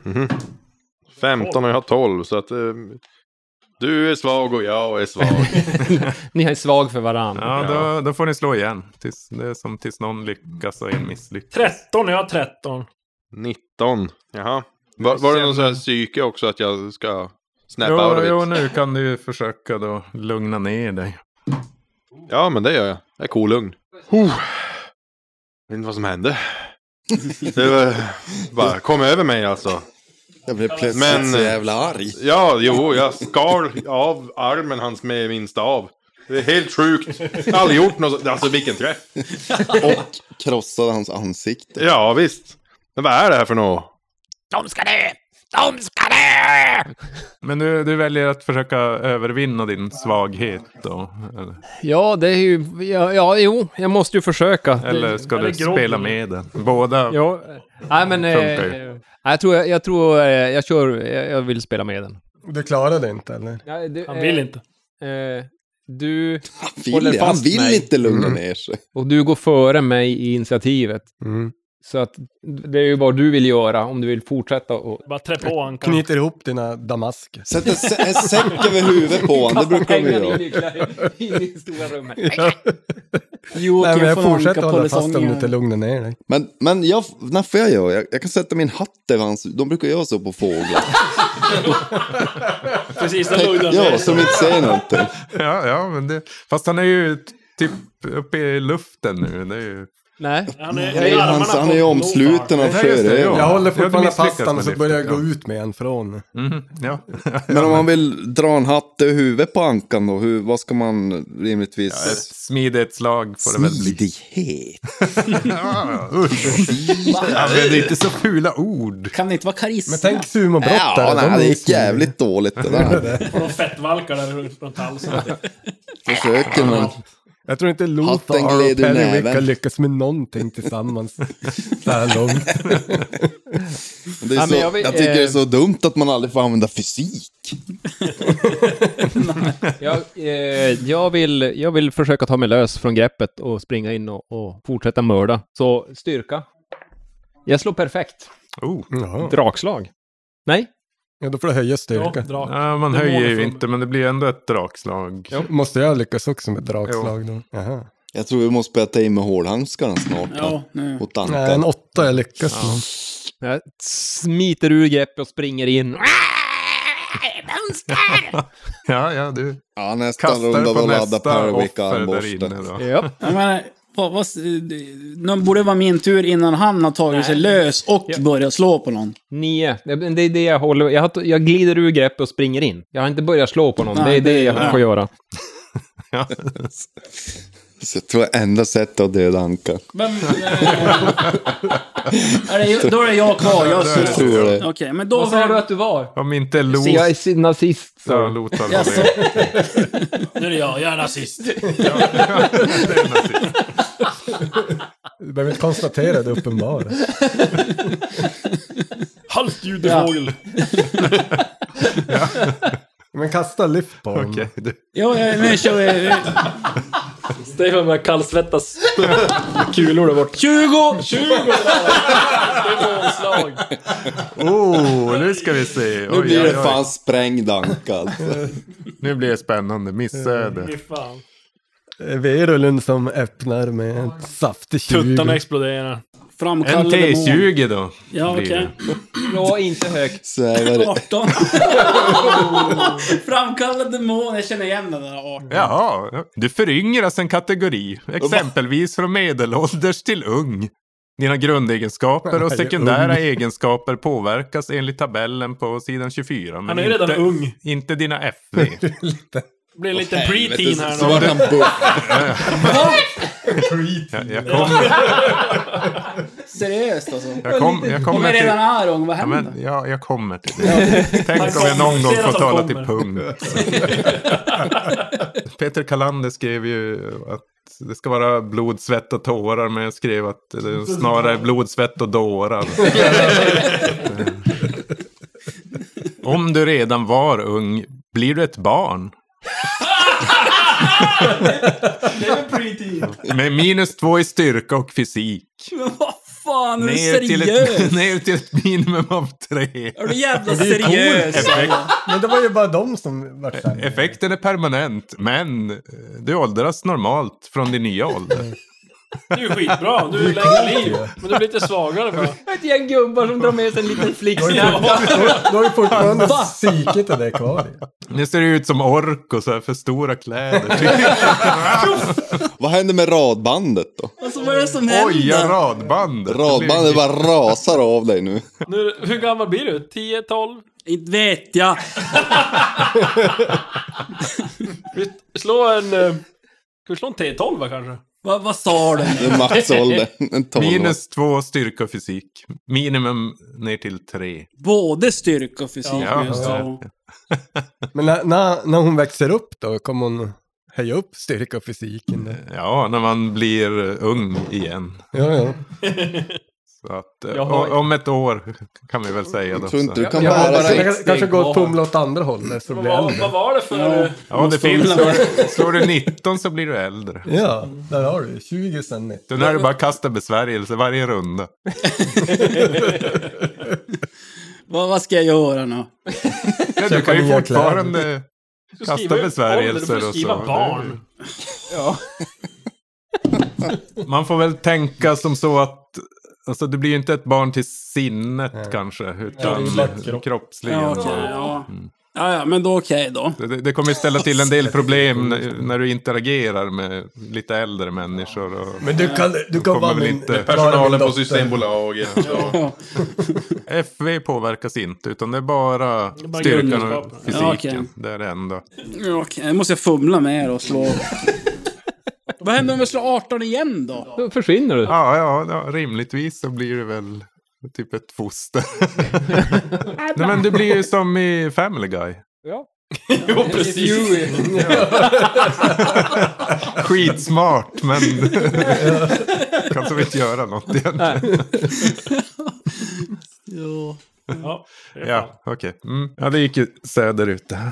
[SPEAKER 10] Mhm. 15 och jag har 12, så att... eh, du är svag och jag är svag.
[SPEAKER 5] Ni är svag för varandra.
[SPEAKER 4] Ja, då, då får ni slå igen. Tills, det är som tills någon lyckas och en misslyckas.
[SPEAKER 7] 13 och jag har 13.
[SPEAKER 10] 19. Jaha. Var, var det någon sån här psyke också att jag ska snappa out
[SPEAKER 4] Jo,
[SPEAKER 10] of it?
[SPEAKER 4] jo, nu kan du ju försöka då lugna ner dig.
[SPEAKER 10] Ja, men det gör jag. Jag är kolugn. Huh. Vet inte vad som hände. Det var, bara kom över mig alltså.
[SPEAKER 9] Jag blev plötsligt så jävla arg.
[SPEAKER 10] Ja, jo, jag skar av armen hans med min stav. Det är helt sjukt. Jag har aldrig gjort något så- Alltså vilken träff.
[SPEAKER 9] Och krossade hans ansikte.
[SPEAKER 10] Ja, visst. Men vad är det här för något?
[SPEAKER 8] De ska dö! De ska dö!
[SPEAKER 4] Men du, du väljer att försöka övervinna din svaghet då? Eller,
[SPEAKER 5] Ja, det är ju... Ja, ja jo, jag måste ju försöka.
[SPEAKER 4] eller ska du spela med den? Båda?
[SPEAKER 5] Ja, eh, nej men...
[SPEAKER 4] Funkar
[SPEAKER 5] Eh,
[SPEAKER 4] ju.
[SPEAKER 5] jag tror, jag, tror eh, jag kör... Jag, jag vill spela med den.
[SPEAKER 2] Du klarade inte eller?
[SPEAKER 7] Han vill inte.
[SPEAKER 5] Eh, du håller
[SPEAKER 9] Vill,
[SPEAKER 5] fast
[SPEAKER 9] han vill
[SPEAKER 5] mig. Mm.
[SPEAKER 9] inte lugna ner sig.
[SPEAKER 5] Och du går före mig i initiativet.
[SPEAKER 4] Mm.
[SPEAKER 5] Så att det är ju vad du vill göra om du vill fortsätta och...
[SPEAKER 7] Bara trä på ankan.
[SPEAKER 2] Knyter ihop dina damasker.
[SPEAKER 9] Sätt en, sä- en säck över huvudet på honom, det brukar vi göra.
[SPEAKER 5] In i stora rummet.
[SPEAKER 3] Jo,
[SPEAKER 2] Nej,
[SPEAKER 3] okej,
[SPEAKER 2] men jag
[SPEAKER 3] får anka
[SPEAKER 2] fortsätter
[SPEAKER 3] på
[SPEAKER 2] hålla fast om du
[SPEAKER 3] lisongen.
[SPEAKER 2] inte lugnar ner dig.
[SPEAKER 9] Men, men jag, när får jag göra? Jag, jag kan sätta min hatt över hans De brukar göra så på fåglar.
[SPEAKER 7] Precis, den lugnar
[SPEAKER 9] Ja, som inte säger någonting.
[SPEAKER 4] Ja, ja men det, fast han är ju t- typ uppe i luften nu. Det är ju
[SPEAKER 5] Nej.
[SPEAKER 7] Han är,
[SPEAKER 9] Nej, han, han är ju omsluten av sjörövare.
[SPEAKER 2] Jag håller fortfarande fast han och så börjar jag gå ut med en från.
[SPEAKER 4] ja.
[SPEAKER 9] Men om man vill dra en hatt över huvudet på ankan då, hur, vad ska man rimligtvis...
[SPEAKER 4] Ja, ett smidighetslag får det väl bli.
[SPEAKER 9] Smidighet?
[SPEAKER 4] Ja, usch. Använd inte så fula ord.
[SPEAKER 3] Kan det inte vara karisma?
[SPEAKER 2] Men tänk sumobrottare.
[SPEAKER 9] Ja,
[SPEAKER 2] de är
[SPEAKER 9] nej, det
[SPEAKER 2] ju
[SPEAKER 9] gick
[SPEAKER 2] smidiga.
[SPEAKER 9] jävligt dåligt det där.
[SPEAKER 7] Och de fettvalkar där runt- runt halsen.
[SPEAKER 9] Försöker man.
[SPEAKER 2] Jag tror inte Lothar
[SPEAKER 9] Hatten
[SPEAKER 2] och
[SPEAKER 9] gled ur
[SPEAKER 2] Perry
[SPEAKER 9] näven.
[SPEAKER 2] kan lyckas med någonting tillsammans så här långt.
[SPEAKER 9] Det är så, jag, tycker det är så dumt att man aldrig får använda fysik.
[SPEAKER 5] Jag, eh, jag, vill, jag vill försöka ta mig lös från greppet och springa in och, och fortsätta mörda. Så styrka. Jag slår perfekt.
[SPEAKER 2] Jaha.
[SPEAKER 5] Drakslag. Nej.
[SPEAKER 2] Ja, då får du höja styrka.
[SPEAKER 4] Ja, man höjer ju inte, men det blir ändå ett drakslag.
[SPEAKER 2] Måste jag lyckas också med dragslag då? Jaha.
[SPEAKER 9] Jag tror vi måste börja ta i med hårdhandskarna snart.
[SPEAKER 3] Ja,
[SPEAKER 9] va?
[SPEAKER 3] nu.
[SPEAKER 9] Och tanka.
[SPEAKER 2] Nej, en åtta jag lyckas
[SPEAKER 5] Ja.
[SPEAKER 2] med.
[SPEAKER 5] Jag smiter ur greppet och springer in.
[SPEAKER 4] Ja, ja, du.
[SPEAKER 9] Ja, nästa
[SPEAKER 4] Kastar på
[SPEAKER 9] runda då laddar
[SPEAKER 4] nästa
[SPEAKER 9] Perwick
[SPEAKER 4] offer där
[SPEAKER 9] armborsten.
[SPEAKER 4] inne då.
[SPEAKER 5] Ja.
[SPEAKER 3] Jag menar, vad, vad, det borde vara min tur innan han har tagit sig lös och börjat slå på någon.
[SPEAKER 5] Nio. Det det är det jag håller. Jag, har t- jag glider ur greppet och springer in. Jag har inte börjat slå på någon.
[SPEAKER 3] Nej,
[SPEAKER 5] det är det
[SPEAKER 3] det-
[SPEAKER 5] jag
[SPEAKER 3] nej.
[SPEAKER 5] får göra.
[SPEAKER 9] Så jag tror det är enda sättet att döda Anka.
[SPEAKER 3] Men,
[SPEAKER 5] eh,
[SPEAKER 3] är det, då är det jag kvar. Jag
[SPEAKER 9] Jag tror det.
[SPEAKER 3] Okej, men då...
[SPEAKER 5] Vad sa du att du var?
[SPEAKER 4] Om inte Los...
[SPEAKER 5] Jag är nazist. Så.
[SPEAKER 4] Ja, Lothar var
[SPEAKER 3] Jaså?
[SPEAKER 4] det.
[SPEAKER 7] Nu är det jag, jag är nazist.
[SPEAKER 2] Du behöver inte konstatera det uppenbara.
[SPEAKER 7] Halt judefågel.
[SPEAKER 2] Men kasta lyft på honom.
[SPEAKER 4] Okej, du.
[SPEAKER 3] Ja, ja, nu kör vi.
[SPEAKER 6] Stefan börjar kallsvettas. Kulor där borta.
[SPEAKER 3] 20!
[SPEAKER 6] 20 där! Det är målslag.
[SPEAKER 4] Oh, nu ska vi se.
[SPEAKER 9] Nu
[SPEAKER 4] Oj,
[SPEAKER 9] blir det
[SPEAKER 4] oj, oj.
[SPEAKER 9] fan sprängd Anka alltså.
[SPEAKER 4] Nu blir det spännande. Missöde.
[SPEAKER 7] Fy fan.
[SPEAKER 2] Verulun som öppnar med en saftig tjuv.
[SPEAKER 7] Tuttarna exploderar.
[SPEAKER 4] En
[SPEAKER 3] Framkallade mål.
[SPEAKER 4] T20 då.
[SPEAKER 3] Ja,
[SPEAKER 4] blir
[SPEAKER 3] okej.
[SPEAKER 4] det.
[SPEAKER 5] Slå inte högt.
[SPEAKER 9] Svävar
[SPEAKER 3] 18. Framkallade demon, jag känner igen den där 18.
[SPEAKER 4] Jaha, du föryngras en kategori. Exempelvis från medelålders till ung. Dina grundegenskaper och sekundära egenskaper påverkas enligt tabellen på sidan 24. Men
[SPEAKER 7] Han är ju redan
[SPEAKER 4] inte,
[SPEAKER 7] ung.
[SPEAKER 4] Inte dina FV.
[SPEAKER 7] Det blir en liten preteen här
[SPEAKER 9] Så
[SPEAKER 7] nu.
[SPEAKER 9] vart han buff.
[SPEAKER 4] Jag, jag kom,
[SPEAKER 3] Seriöst alltså.
[SPEAKER 4] jag kom, jag
[SPEAKER 3] Om
[SPEAKER 4] kommer
[SPEAKER 3] jag redan är
[SPEAKER 4] till...
[SPEAKER 3] ung, vad
[SPEAKER 4] Ja,
[SPEAKER 3] händer?
[SPEAKER 4] men, ja, jag kommer till det. Tänk om jag någon gång
[SPEAKER 7] Ser att
[SPEAKER 4] får
[SPEAKER 7] de
[SPEAKER 4] tala
[SPEAKER 7] kommer.
[SPEAKER 4] till punkt. Peter Kalander skrev ju att det ska vara blod, svett och tårar. Men jag skrev att det snarare blod, svett och dårar. Om du redan var ung, blir du ett barn? Med minus två i styrka och fysik.
[SPEAKER 3] Men vad fan, är du
[SPEAKER 4] Ner till,
[SPEAKER 3] seriös?
[SPEAKER 4] ett, ner till ett minimum av tre.
[SPEAKER 3] Är du jävla
[SPEAKER 2] Det är ju
[SPEAKER 3] seriös?
[SPEAKER 2] coolt.
[SPEAKER 4] Effekt,
[SPEAKER 2] Men det var ju bara de som vart sämre.
[SPEAKER 4] effekten är permanent, men eh, du åldras normalt från din nya ålder.
[SPEAKER 7] Du är skitbra. Du är längre liv. Men du blir lite svagare bara.
[SPEAKER 5] Ett gäng gubbar som drar med sig en liten flick.
[SPEAKER 2] Då har ju fortfarande psyket av det kvar. ju.
[SPEAKER 4] Nu ser du ut som ork och så här för stora kläder.
[SPEAKER 9] Vad händer med radbandet då?
[SPEAKER 3] Alltså vad är det som
[SPEAKER 4] Oj, ja,
[SPEAKER 3] händer?
[SPEAKER 4] radbandet.
[SPEAKER 9] Radbandet bara rasar av dig nu.
[SPEAKER 7] Nu, hur gammal blir du? 10, 12?
[SPEAKER 3] Inte vet jag.
[SPEAKER 7] Vi slår en... eh, Ska vi slå en T12 va, kanske?
[SPEAKER 3] Va, vad sa du?
[SPEAKER 9] Det är maxåldern. En tolva.
[SPEAKER 4] Minus två styrka och fysik. Minimum ner till tre.
[SPEAKER 3] Både styrka och fysik.
[SPEAKER 4] Ja,
[SPEAKER 3] just
[SPEAKER 4] ja.
[SPEAKER 3] det.
[SPEAKER 2] Men när, när, när hon växer upp då, kommer hon höja upp styrka och fysiken?
[SPEAKER 4] Mm.
[SPEAKER 2] Där.
[SPEAKER 4] Ja, när man blir eh, ung igen.
[SPEAKER 2] Ja, ja.
[SPEAKER 4] Så att, eh,
[SPEAKER 5] Jag har-
[SPEAKER 4] o- Om ett år kan vi väl säga då.
[SPEAKER 9] Tror inte
[SPEAKER 4] Så.
[SPEAKER 9] du kan
[SPEAKER 2] Jag har
[SPEAKER 9] bära
[SPEAKER 2] bara,
[SPEAKER 9] sig.
[SPEAKER 2] jag kanske går och fumlar åt andra hållet så
[SPEAKER 7] Vad
[SPEAKER 2] blir jag
[SPEAKER 7] var, vad
[SPEAKER 2] äldre.
[SPEAKER 7] var det för... eh,
[SPEAKER 4] Ja, det finns. Slår, slår du 19 så blir du äldre.
[SPEAKER 2] Ja, där har du. 20 sen 90.
[SPEAKER 4] Så när du bara kastar besvärjelse varje runda.
[SPEAKER 3] Vad, vad ska jag göra nu?
[SPEAKER 4] Ja, du
[SPEAKER 2] Köpa
[SPEAKER 4] kan ju
[SPEAKER 2] nya
[SPEAKER 4] fortfarande
[SPEAKER 7] du ska
[SPEAKER 4] kasta
[SPEAKER 7] skriva ålder,
[SPEAKER 4] besvärjelser
[SPEAKER 7] Du får
[SPEAKER 4] och
[SPEAKER 7] skriva
[SPEAKER 4] så.
[SPEAKER 7] barn.
[SPEAKER 4] Man får väl tänka som så att Alltså det blir ju inte ett barn till sinnet kanske, utan
[SPEAKER 2] det är ju lätt kropp.
[SPEAKER 4] kroppsligen.
[SPEAKER 3] Ja, okej, ja. Ja, ja, men då okej då.
[SPEAKER 4] Det, det kommer ju ställa till en del problem när, när du interagerar med lite äldre människor. Och,
[SPEAKER 2] Men du kan- du
[SPEAKER 4] då
[SPEAKER 2] kan
[SPEAKER 4] kommer
[SPEAKER 2] vara
[SPEAKER 4] väl
[SPEAKER 2] min-
[SPEAKER 4] inte-
[SPEAKER 2] klara min dotter. Ja.
[SPEAKER 4] FV påverkas inte, utan det är bara,
[SPEAKER 3] är bara
[SPEAKER 4] styrkan och
[SPEAKER 3] grundkunskaper.
[SPEAKER 4] fysiken.
[SPEAKER 3] Ja, okej.
[SPEAKER 4] Det är det enda.
[SPEAKER 3] Ja, Okej, nu måste jag fumla med er och slå. Vad händer om jag slår 18 igen då?
[SPEAKER 5] Då försvinner du.
[SPEAKER 4] Ja, ja, ja, rimligtvis så blir det väl typ ett foster. Nej, men det blir ju som i Family Guy.
[SPEAKER 5] Ja.
[SPEAKER 6] Jo, precis.
[SPEAKER 4] Skitsmart, men kan som inte göra något egentligen.
[SPEAKER 3] Ja.
[SPEAKER 7] Ja,
[SPEAKER 4] Ja, okej. Mm. Ja, det gick ju söderut det här.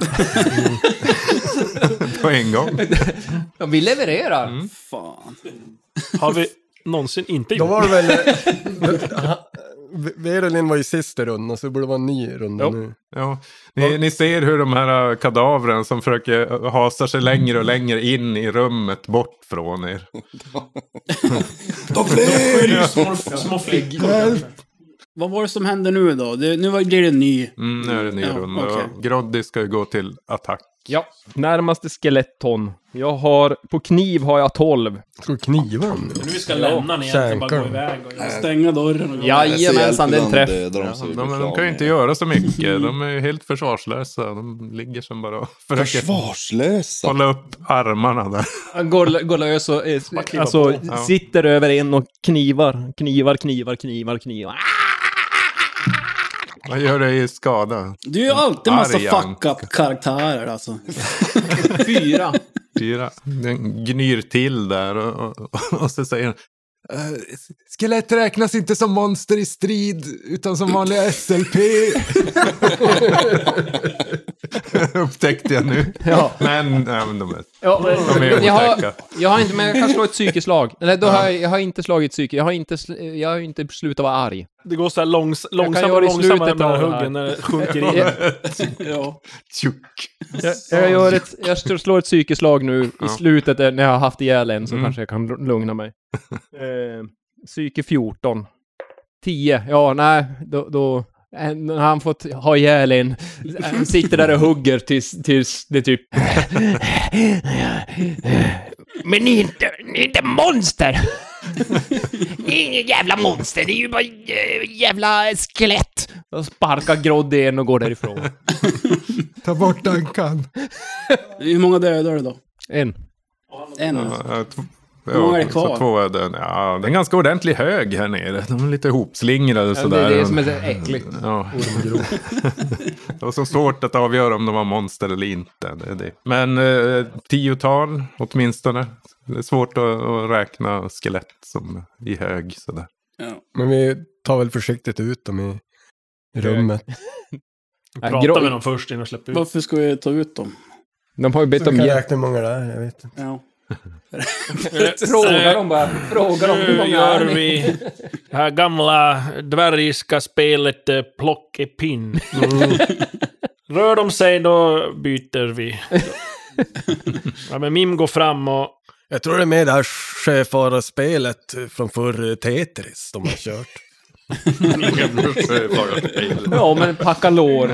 [SPEAKER 4] På en gång.
[SPEAKER 5] Ja, vi levererar.
[SPEAKER 3] Fan.
[SPEAKER 7] Har vi någonsin inte
[SPEAKER 2] Då
[SPEAKER 7] gjort
[SPEAKER 2] var det väl... Verolin var ju sist i rundan, så det borde vara en ny runda
[SPEAKER 4] Jo,
[SPEAKER 2] nu.
[SPEAKER 4] jo. Ni, ni ser hur de här kadavren som försöker hasa sig längre och längre in i rummet bort från er.
[SPEAKER 6] De flyr! Det är ju små- små flickor. Hjälp!
[SPEAKER 3] Vad var det som hände nu då? Det, nu var- blir det en ny.
[SPEAKER 4] Mm, nu är det en ny
[SPEAKER 3] Ja,
[SPEAKER 4] runda.
[SPEAKER 3] okej.
[SPEAKER 4] och Groddy ska ju gå till attack.
[SPEAKER 5] Ja, närmaste skeletton. Jag har, på kniv har jag 12.
[SPEAKER 2] Ska du kniva dem
[SPEAKER 5] nu?
[SPEAKER 7] Vi ska lämna den egentligen, bara gå iväg och...
[SPEAKER 3] Stänga dörren och gå.
[SPEAKER 5] Jajamensan, det är en träff.
[SPEAKER 4] Ja, de, de kan ju inte göra så mycket. De är ju helt försvarslösa. De ligger som bara och försöker...
[SPEAKER 9] Försvarslösa?
[SPEAKER 4] Hålla upp armarna där.
[SPEAKER 5] Han går, går lös och eh,
[SPEAKER 4] kliva
[SPEAKER 5] alltså,
[SPEAKER 4] på. Ja.
[SPEAKER 5] sitter över en och knivar, knivar, knivar, knivar, knivar.
[SPEAKER 4] Vad gör det i skada?
[SPEAKER 3] Du är ju alltid en massa
[SPEAKER 4] Arjan.
[SPEAKER 3] fuck up karaktärer alltså.
[SPEAKER 5] Fyra.
[SPEAKER 4] Fyra. Den gnyr till där och, och, och så säger den... "Eh, Skelett räknas inte som monster i strid, utan som vanliga SLP. Upptäckte jag nu.
[SPEAKER 5] Ja.
[SPEAKER 4] Men, nej, men de är,
[SPEAKER 5] Ja,
[SPEAKER 4] de är
[SPEAKER 5] jag, har,
[SPEAKER 4] otäcka.
[SPEAKER 5] jag har inte, men jag kan slå ett psykiskt slag. Eller då har jag, jag har inte slagit psyke. Jag har inte, sl- jag har inte slutat vara arg.
[SPEAKER 7] Det går så här långs, långsammare
[SPEAKER 5] göra
[SPEAKER 7] och
[SPEAKER 5] i
[SPEAKER 7] långsammare
[SPEAKER 5] slutet
[SPEAKER 7] med
[SPEAKER 5] av det här.
[SPEAKER 7] huggen när det sjunker in.
[SPEAKER 3] ja.
[SPEAKER 5] Jag, jag, gör ett, jag st- slår ett psykiskt slag nu
[SPEAKER 4] Ja.
[SPEAKER 5] i slutet eh, när jag har haft ihjäl en så
[SPEAKER 4] Mm.
[SPEAKER 5] kanske jag kan lu- lugna mig. Eh, psyke 14. 10. Ja, nej, då... då eh, när han fått ha ihjäl en, eh, sitter där och hugger tills, tills det typ...
[SPEAKER 8] Men ni är inte, ni är inte monster! ni är inget jävla monster, ni är ju bara eh, jävla skelett!
[SPEAKER 5] Då sparkar Groddy en och går därifrån.
[SPEAKER 4] Ta bort Duncan.
[SPEAKER 3] Hur många dödar du då?
[SPEAKER 5] En.
[SPEAKER 3] En?
[SPEAKER 4] Ja, tv-
[SPEAKER 3] Hur många är det
[SPEAKER 4] Eh, ja,
[SPEAKER 3] kvar?
[SPEAKER 4] Så två är den. Ja, det är en ganska ordentlig hög här nere. De är lite hopslingrade
[SPEAKER 5] det är
[SPEAKER 4] sådär.
[SPEAKER 5] det som är så äckligt.
[SPEAKER 4] Ja.
[SPEAKER 5] Ormgrop.
[SPEAKER 4] det var så svårt att avgöra om de var monster eller inte. Det är det. Men eh, tiotal åtminstone. Det är svårt att, att räkna skelett som i hög sådär.
[SPEAKER 2] Men vi tar väl försiktigt ut dem i i rummet.
[SPEAKER 7] Prata med dem först innan jag släpper ut.
[SPEAKER 3] Varför ska vi ta ut dem?
[SPEAKER 5] De har ju
[SPEAKER 2] Så vi kan räkna hur många det är, jag vet inte.
[SPEAKER 3] Ja.
[SPEAKER 5] Fråga dem bara. Fråga dem hur
[SPEAKER 7] Nu
[SPEAKER 5] många
[SPEAKER 7] gör
[SPEAKER 5] är ni?
[SPEAKER 7] vi det här gamla dvärgiska spelet eh, plockepinn.
[SPEAKER 5] Mm.
[SPEAKER 7] Rör de sig då byter vi. Ja, men Mim går fram och...
[SPEAKER 2] Jag tror det är med det här sjöfararspelet från förr, Tetris, de har kört.
[SPEAKER 5] Ja, men packa lår.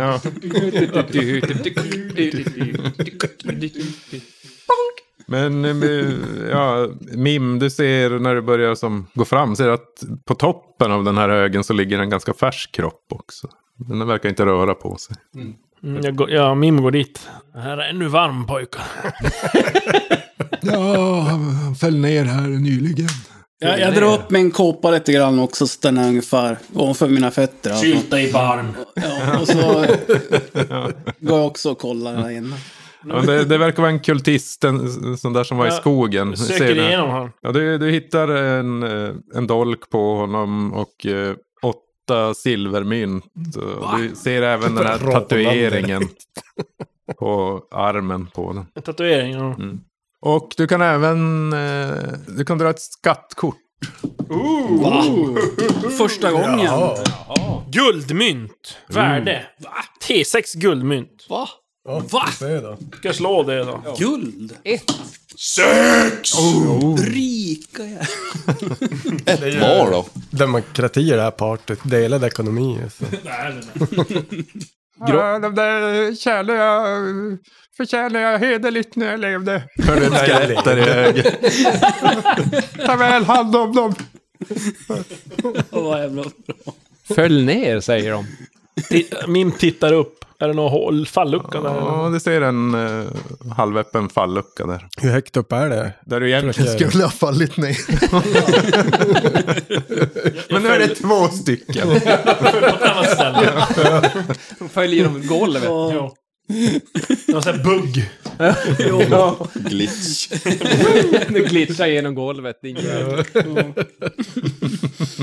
[SPEAKER 4] Men eh, ja, Mim, du ser när du börjar som, gå fram, ser att på toppen av den här högen så ligger en ganska färsk kropp också. Den verkar inte röra på sig.
[SPEAKER 7] Mm, jag går, ja, Mim går dit. Det här är ännu varm pojkar.
[SPEAKER 4] Ja, han föll ner här nyligen.
[SPEAKER 3] Jag, jag drar upp min kåpa lite grann också så den är ungefär ovanför mina fötter. Alltså.
[SPEAKER 7] Sylta i barn.
[SPEAKER 3] Ja, och så går jag också och kollar där inne.
[SPEAKER 4] Ja, det, det verkar vara en kultist, en en sån där som var i
[SPEAKER 3] Ja,
[SPEAKER 4] skogen.
[SPEAKER 3] söker
[SPEAKER 4] Ser du?
[SPEAKER 3] igenom han.
[SPEAKER 4] Ja, du, du hittar en, eh, en dolk på honom och eh, åtta silvermynt. Och Du ser även den här
[SPEAKER 7] Rakt på landet.
[SPEAKER 4] tatueringen på armen på den.
[SPEAKER 7] En tatuering. ja.
[SPEAKER 4] Och du kan även eh, du kan dra ett skattkort.
[SPEAKER 7] Ooh.
[SPEAKER 4] Va?
[SPEAKER 3] Första gången.
[SPEAKER 7] Jaha. Guldmynt. Värde. T6 guldmynt.
[SPEAKER 3] Va?
[SPEAKER 7] Va?
[SPEAKER 2] då.
[SPEAKER 7] Ska jag slå det då?
[SPEAKER 3] Guld?
[SPEAKER 5] Ett.
[SPEAKER 7] Sex!
[SPEAKER 3] Oh. Rika jävlar.
[SPEAKER 2] Ett Demokrati i det här partyt, delad ekonomi. alltså. Så.
[SPEAKER 7] Nej, nej, nej.
[SPEAKER 11] Grå- Ja, de där tjänar jag, förtjänar jag hederligt när jag levde.
[SPEAKER 4] Hörde ett skelett där i höger.
[SPEAKER 11] Ta väl hand om dem.
[SPEAKER 3] Vad jävla bra.
[SPEAKER 5] Följ ner, säger de.
[SPEAKER 7] Mim tittar upp. Är det någon hål, fallucka där?
[SPEAKER 4] Ja, det ser en eh, halvöppen fallucka där.
[SPEAKER 2] Hur högt upp är det?
[SPEAKER 4] Där du egentligen
[SPEAKER 2] Tror jag-
[SPEAKER 4] skulle
[SPEAKER 12] ha fallit ner.
[SPEAKER 4] Men nu är det två stycken.
[SPEAKER 5] De följer genom golvet.
[SPEAKER 7] Ja. Någon sån här bugg.
[SPEAKER 5] Jo.
[SPEAKER 7] Ja.
[SPEAKER 5] Glitch. Nu glitchar genom golvet, din jävel.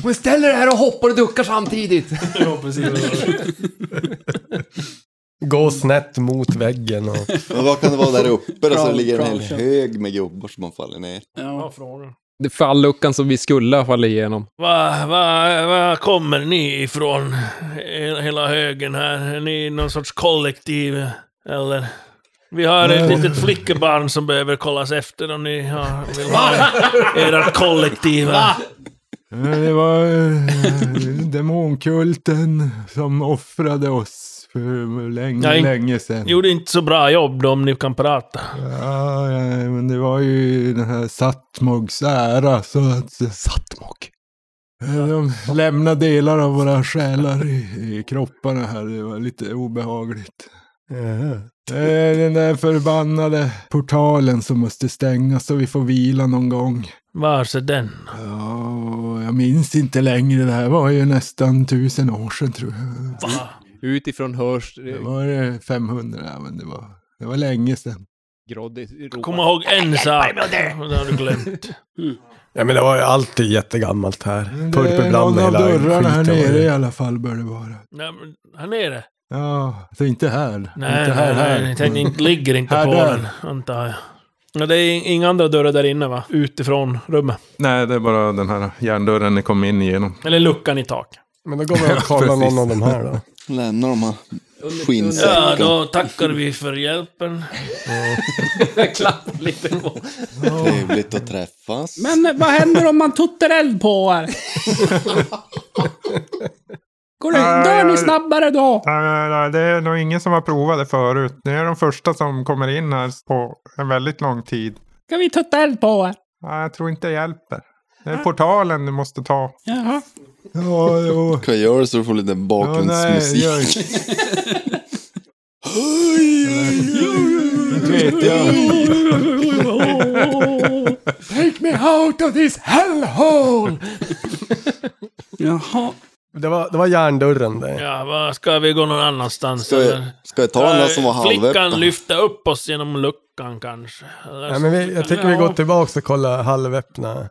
[SPEAKER 8] Men ställ dig här och hoppar och duckar samtidigt.
[SPEAKER 7] Ja, precis.
[SPEAKER 2] Gå snett mot väggen och...
[SPEAKER 9] Men vad kan det vara där uppe då? Så det
[SPEAKER 2] Crawl,
[SPEAKER 9] ligger en
[SPEAKER 2] crawl,
[SPEAKER 9] hel
[SPEAKER 2] crawl.
[SPEAKER 9] hög med gubbar som man faller ner.
[SPEAKER 7] Ja, frågan.
[SPEAKER 5] Det är falluckan som vi skulle ha fallit igenom.
[SPEAKER 7] Va, va, va kommer ni ifrån? Hela, hela högen här. Är ni någon sorts kollektiv? Eller? Vi har ett
[SPEAKER 5] Nej.
[SPEAKER 7] litet flickebarn som behöver kollas efter om ni har, vill ha era kollektiva...
[SPEAKER 11] Det var eh, demonkulten som offrade oss för länge,
[SPEAKER 7] Nej.
[SPEAKER 11] länge sedan.
[SPEAKER 7] Gjorde inte så bra jobb då om ni kan prata.
[SPEAKER 11] Ja, ja, men det var ju den här Sattmogs ära så att... eh,
[SPEAKER 5] Sattmog?
[SPEAKER 11] De lämnade delar av våra själar i, i kropparna här. Det var lite obehagligt. Eh, Den där förbannade portalen som måste stängas så vi får vila någon gång.
[SPEAKER 7] Vars är den?
[SPEAKER 11] Ja, jag minns inte längre. Det här var ju nästan tusen år sedan tror jag.
[SPEAKER 5] Utifrån hörs...
[SPEAKER 11] Det var eh, 500, ja, men det var, det var länge sedan.
[SPEAKER 5] Groddy
[SPEAKER 7] Kom ihåg
[SPEAKER 2] Äh,
[SPEAKER 7] en sak. Det har du glömt.
[SPEAKER 2] Ja men det var ju alltid jättegammalt här.
[SPEAKER 11] Det är någon
[SPEAKER 2] Purpelblandning
[SPEAKER 11] av
[SPEAKER 2] hela
[SPEAKER 11] dörrarna här
[SPEAKER 2] skiten var
[SPEAKER 11] nere
[SPEAKER 2] det.
[SPEAKER 11] i alla fall bör det vara.
[SPEAKER 7] Nej, men här nere?
[SPEAKER 11] Ja, så inte här.
[SPEAKER 7] Nej,
[SPEAKER 11] inte här,
[SPEAKER 7] nej,
[SPEAKER 11] här.
[SPEAKER 7] nej,
[SPEAKER 4] Mm.
[SPEAKER 7] den inte- ligger inte
[SPEAKER 11] här,
[SPEAKER 7] på
[SPEAKER 11] där.
[SPEAKER 7] den, antar jag. Ja, det är inga andra dörrar där inne, va? Utifrån rummet.
[SPEAKER 4] Nej, det är bara den här järndörren ni kom in genom.
[SPEAKER 7] Eller luckan i tak.
[SPEAKER 2] Men då går vi och kollar någon av de här då.
[SPEAKER 9] Lämnar de här
[SPEAKER 7] Ja,
[SPEAKER 9] skinnsäckarna.
[SPEAKER 7] då tackar vi för hjälpen.
[SPEAKER 5] Jag klappar lite på.
[SPEAKER 9] Trevligt att träffas.
[SPEAKER 3] Men eh, vad händer om man tuttar eld på er? Går det, dör ni snabbare då?
[SPEAKER 13] Nej, nej, nej, det är nog ingen som har provat det förut. Ni är de första som kommer in här på en väldigt lång tid.
[SPEAKER 3] Ska vi tutta eld på er?
[SPEAKER 13] Nej, jag tror inte det hjälper. Det är portalen du måste ta.
[SPEAKER 3] Jaha.
[SPEAKER 11] Ja, jo.
[SPEAKER 9] Kan jag göra så du får lite bakgrundsmusik?
[SPEAKER 13] Ja, nej, gör
[SPEAKER 11] Inte vet jag.
[SPEAKER 3] Take me out of this hellhole! Jaha.
[SPEAKER 2] Det var, det var järndörren det.
[SPEAKER 7] Ja, vad ska vi gå någon annanstans?
[SPEAKER 2] Ska jag-
[SPEAKER 7] eller?
[SPEAKER 2] ska jag ta den där
[SPEAKER 7] Ska
[SPEAKER 2] som var
[SPEAKER 7] Flickan
[SPEAKER 2] halvöppen?
[SPEAKER 7] lyfta upp oss genom luckan kanske? Eller
[SPEAKER 2] Ja, men vi, jag tycker vi går tillbaka och kollar halvöppna.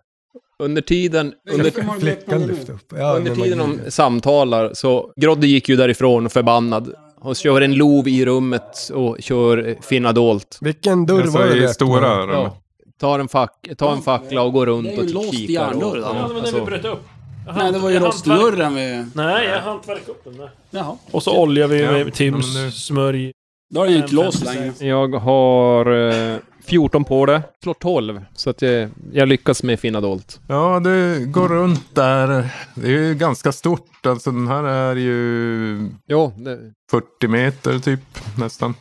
[SPEAKER 5] Under tiden... Under,
[SPEAKER 2] Flickan lyfter upp. Ja,
[SPEAKER 5] under
[SPEAKER 2] men man-
[SPEAKER 5] tiden de samtalar så... Groddy gick ju därifrån förbannad. Hon kör en lov i rummet och kör eh, finna dolt.
[SPEAKER 2] Vilken dörr
[SPEAKER 4] Alltså, var det i vi öppnade? stora rummet.
[SPEAKER 5] Tar en, fack, tar en fackla och går runt
[SPEAKER 3] Det är ju
[SPEAKER 5] och
[SPEAKER 3] låst alltså.
[SPEAKER 5] kikar.
[SPEAKER 3] järndörr,
[SPEAKER 5] och- Alltså.
[SPEAKER 3] då.
[SPEAKER 7] Ja, det var den vi bröt upp. Jag
[SPEAKER 3] Nej, det var ju
[SPEAKER 7] jag
[SPEAKER 3] rostdörren vi-
[SPEAKER 7] hantverk- Nej, jag hantverkade upp den där.
[SPEAKER 3] Jaha.
[SPEAKER 7] Och så oljar vi
[SPEAKER 5] Ja,
[SPEAKER 7] med Tims
[SPEAKER 5] ja, men det-
[SPEAKER 7] smörj.
[SPEAKER 3] Då har den ju inte låst längre.
[SPEAKER 5] Jag har eh, 14 på det. Slår 12. Så att jag, jag lyckas med finna dolt.
[SPEAKER 4] Ja, du går runt där. Det är ju ganska stort. Alltså den här är ju...
[SPEAKER 5] Ja, det-
[SPEAKER 4] 40 meter typ, nästan.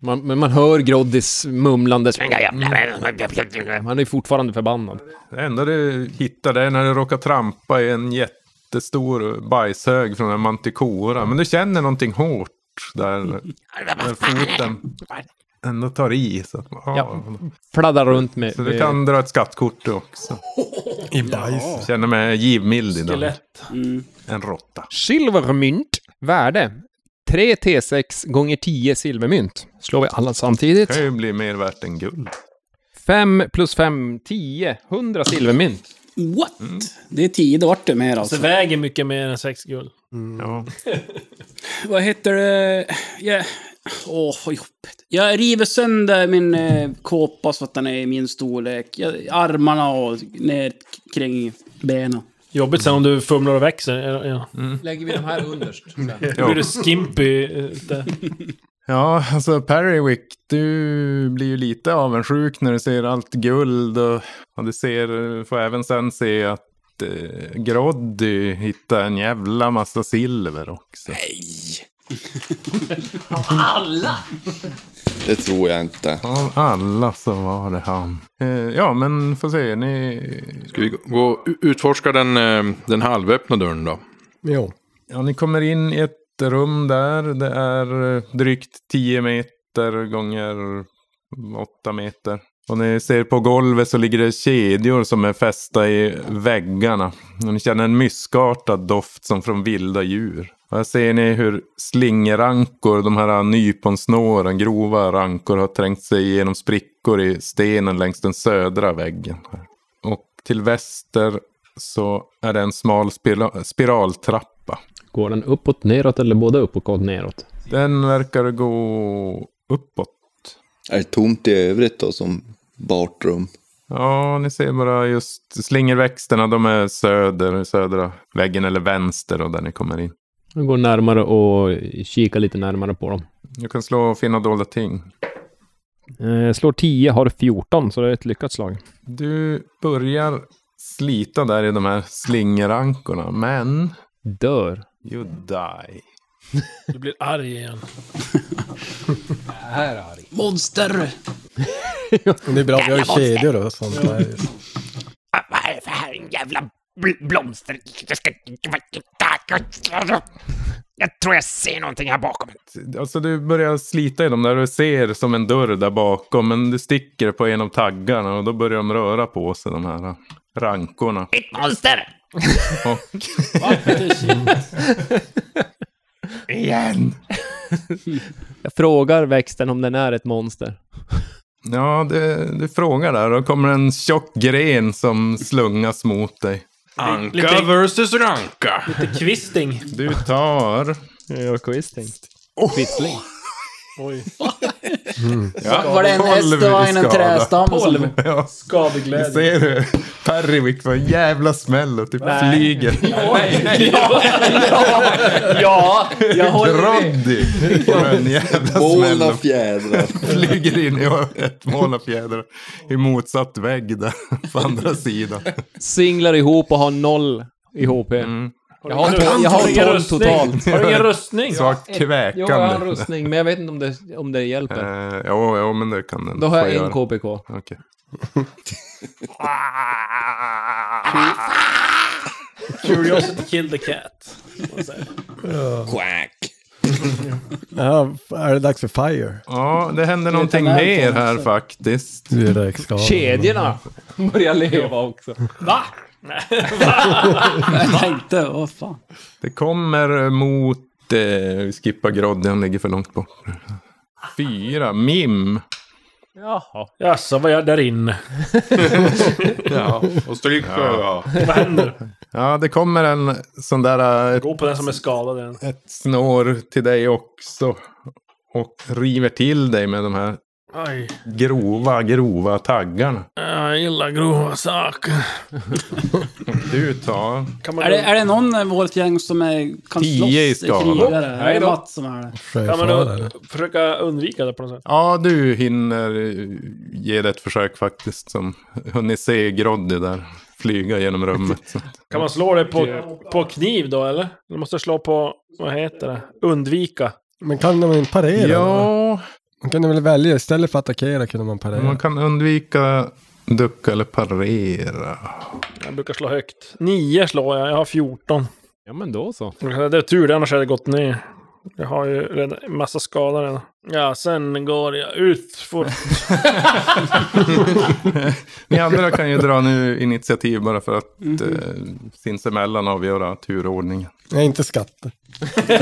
[SPEAKER 5] Man, men man hör Groddis mumlande.
[SPEAKER 2] Mm.
[SPEAKER 5] Han är fortfarande förbannad.
[SPEAKER 4] Det enda du hittar det är när du råkar trampa i en jättestor bajshög från en mantikora. Men du känner någonting hårt där. där foten ändå tar i. Så att,
[SPEAKER 5] Ja, fladdrar runt med...
[SPEAKER 4] Så du kan dra ett skattkort du också.
[SPEAKER 2] I bajs.
[SPEAKER 4] Jag känner mig givmild idag.
[SPEAKER 5] Skelett.
[SPEAKER 4] En råtta.
[SPEAKER 5] Silvermynt. Värde. 3 T6 gånger 10 silvermynt. Slår vi alla samtidigt.
[SPEAKER 4] kan ju bli mer värt än guld.
[SPEAKER 5] 5 plus 5, 10. 100 silvermynt.
[SPEAKER 3] What? Det är 10 det mer
[SPEAKER 7] Så
[SPEAKER 3] alltså.
[SPEAKER 7] det väger mycket mer än sex guld.
[SPEAKER 4] Ja.
[SPEAKER 3] Vad heter det? Jag... Åh, vad jobbigt. Jag river sönder min eh, kåpa så att den är i min storlek. Jag, armarna och ner k- kring benen.
[SPEAKER 7] Jobbigt sen om du fumlar och växer. Ja.
[SPEAKER 5] Mm. Lägger vi de här underst?
[SPEAKER 7] Då blir du skimpy. eh, där.
[SPEAKER 4] Ja, alltså Perrywick, du blir ju lite avundsjuk när du ser allt guld och, och du ser, får även sen se att eh, Groddy hittar en jävla massa silver också. Nej!
[SPEAKER 6] Alla!
[SPEAKER 9] Det tror jag inte.
[SPEAKER 4] Av alla så var det han. Eh, ja, men får se. Ni...
[SPEAKER 10] Ska vi gå utforska den, eh, den halvöppna dörren då?
[SPEAKER 2] Jo.
[SPEAKER 4] Ja, ni kommer in i ett rum där. Det är eh, drygt 10 meter gånger 8 meter. Och ni ser på golvet så ligger det kedjor som är fästa i väggarna. Och ni känner en myskartad doft som från vilda djur. Och här ser ni hur slingrankor, de här nyponsnåren, grova rankor har trängt sig igenom sprickor i stenen längs den södra väggen. Och till väster så är det en smal spira- spiraltrappa.
[SPEAKER 12] Går den uppåt, neråt eller både uppåt och neråt?
[SPEAKER 4] Den verkar gå uppåt.
[SPEAKER 9] Är det tomt i övrigt då som bartrum?
[SPEAKER 4] Ja, ni ser bara just slingerväxterna, de är söder, södra väggen eller vänster och där ni kommer in.
[SPEAKER 12] Jag går närmare och kikar lite närmare på dem.
[SPEAKER 4] Du kan slå och finna dolda ting.
[SPEAKER 12] Eh, slår 10, har 14, så det är ett lyckat slag.
[SPEAKER 4] Du börjar slita där i de här slingerankorna, men...
[SPEAKER 12] Dör.
[SPEAKER 4] You die.
[SPEAKER 7] Du blir arg igen.
[SPEAKER 12] Här arg.
[SPEAKER 3] Monster!
[SPEAKER 2] Men det är bra, vi har ju
[SPEAKER 8] Jävla monster.
[SPEAKER 2] kedjor och sånt. där.
[SPEAKER 8] Ah, Vad är det för här? En jävla bl- blomster... Jag ska- Jag tror jag ser någonting här bakom.
[SPEAKER 4] Alltså du börjar slita i dem där och ser som en dörr där bakom, men du sticker på en av taggarna och då börjar de röra på sig, de här rankorna.
[SPEAKER 8] Ett monster!
[SPEAKER 4] Och...
[SPEAKER 8] Igen.
[SPEAKER 5] Jag frågar växten om den är ett monster.
[SPEAKER 4] Ja, du, du frågar där. Då kommer en tjock gren som slungas mot dig.
[SPEAKER 7] Lite-
[SPEAKER 10] versus Ranka.
[SPEAKER 7] Lite kvisting.
[SPEAKER 4] Du tar...
[SPEAKER 5] Jag gör quisting.
[SPEAKER 12] Kvittling.
[SPEAKER 7] Oj.
[SPEAKER 4] Ja,
[SPEAKER 3] Var det en
[SPEAKER 4] tolv
[SPEAKER 3] häst och var en
[SPEAKER 4] i skada.
[SPEAKER 3] trädstam och så?
[SPEAKER 4] Tolv, Ja.
[SPEAKER 7] Skadeglädje.
[SPEAKER 4] Ser du? Perrivik får en jävla smäll och typ flyger.
[SPEAKER 3] Ja, jag håller med.
[SPEAKER 4] Roddy får en jävla
[SPEAKER 9] Moln av
[SPEAKER 4] smäll. och
[SPEAKER 9] fjädrar.
[SPEAKER 4] Flyger in i ett moln av fjädrar. I motsatt vägg där, på andra sidan.
[SPEAKER 5] Singlar ihop och har noll i HP. Jag har,
[SPEAKER 4] Har du
[SPEAKER 5] jag har
[SPEAKER 4] ingen
[SPEAKER 5] 12
[SPEAKER 4] rustning?
[SPEAKER 5] totalt.
[SPEAKER 4] Har du ingen rustning? Svagt kväkande.
[SPEAKER 5] Jo, jag har en rustning, men jag vet inte om det, om det hjälper.
[SPEAKER 4] Eh, jo, jo, men det kan den
[SPEAKER 5] Då har
[SPEAKER 4] få
[SPEAKER 5] jag en
[SPEAKER 4] göra.
[SPEAKER 5] KPK.
[SPEAKER 4] Okej.
[SPEAKER 7] Curiosity killed the cat. Man säger.
[SPEAKER 9] Quack.
[SPEAKER 2] Ja, är det dags för fire?
[SPEAKER 4] Ja, det händer någonting
[SPEAKER 2] Lite
[SPEAKER 4] mer
[SPEAKER 2] välkommen,
[SPEAKER 4] här
[SPEAKER 2] så.
[SPEAKER 4] faktiskt.
[SPEAKER 2] Direktskador.
[SPEAKER 5] Kedjorna börjar leva också.
[SPEAKER 7] Va?
[SPEAKER 3] Jag tänkte, vad fan.
[SPEAKER 4] Det kommer mot... Eh, vi skippar Groddy, han ligger för långt bort. Fyra, Mim.
[SPEAKER 5] Jaha.
[SPEAKER 7] Jaså, vad jag där inne?
[SPEAKER 4] Ja,
[SPEAKER 10] och stryk
[SPEAKER 4] ja.
[SPEAKER 7] Vad händer?
[SPEAKER 4] Ja, det kommer en sån där... eh, Ett
[SPEAKER 7] Gå på den som är skadad. igen.
[SPEAKER 4] snår till dig också. Och river till dig med de här
[SPEAKER 7] Aj.
[SPEAKER 4] grova, grova taggarna.
[SPEAKER 7] Jag gillar grova saker.
[SPEAKER 4] Du tar...
[SPEAKER 3] Är det, är det någon i vårt gäng som är, kan
[SPEAKER 4] Tio
[SPEAKER 3] slåss?
[SPEAKER 4] i skala.
[SPEAKER 3] Krigare? Är
[SPEAKER 7] Nej
[SPEAKER 3] det
[SPEAKER 7] då.
[SPEAKER 3] Mats som är det?
[SPEAKER 7] Kan man då försöka undvika det på något sätt?
[SPEAKER 4] Ja, du hinner eh, ge det ett försök faktiskt. Som hunnit se Groddy där flyga genom rummet.
[SPEAKER 7] Kan man slå det på, på kniv då, eller? Du måste slå på, vad heter det? Undvika.
[SPEAKER 2] Men kan de inte parera?
[SPEAKER 4] Ja.
[SPEAKER 2] Man kunde väl välja, istället för att attackera kunde man parera.
[SPEAKER 4] Man kan undvika ducka eller parera.
[SPEAKER 7] Jag brukar slå högt. Nio slår jag, jag har 14.
[SPEAKER 12] Ja, men då så.
[SPEAKER 7] Det är tur det, annars hade det gått ner. Jag har ju redan en massa skador redan. Ja, sen går jag ut fort.
[SPEAKER 4] Ni andra kan ju dra nu initiativ bara för att eh, sinsemellan avgöra turordningen.
[SPEAKER 2] Nej, inte skatter.
[SPEAKER 5] Det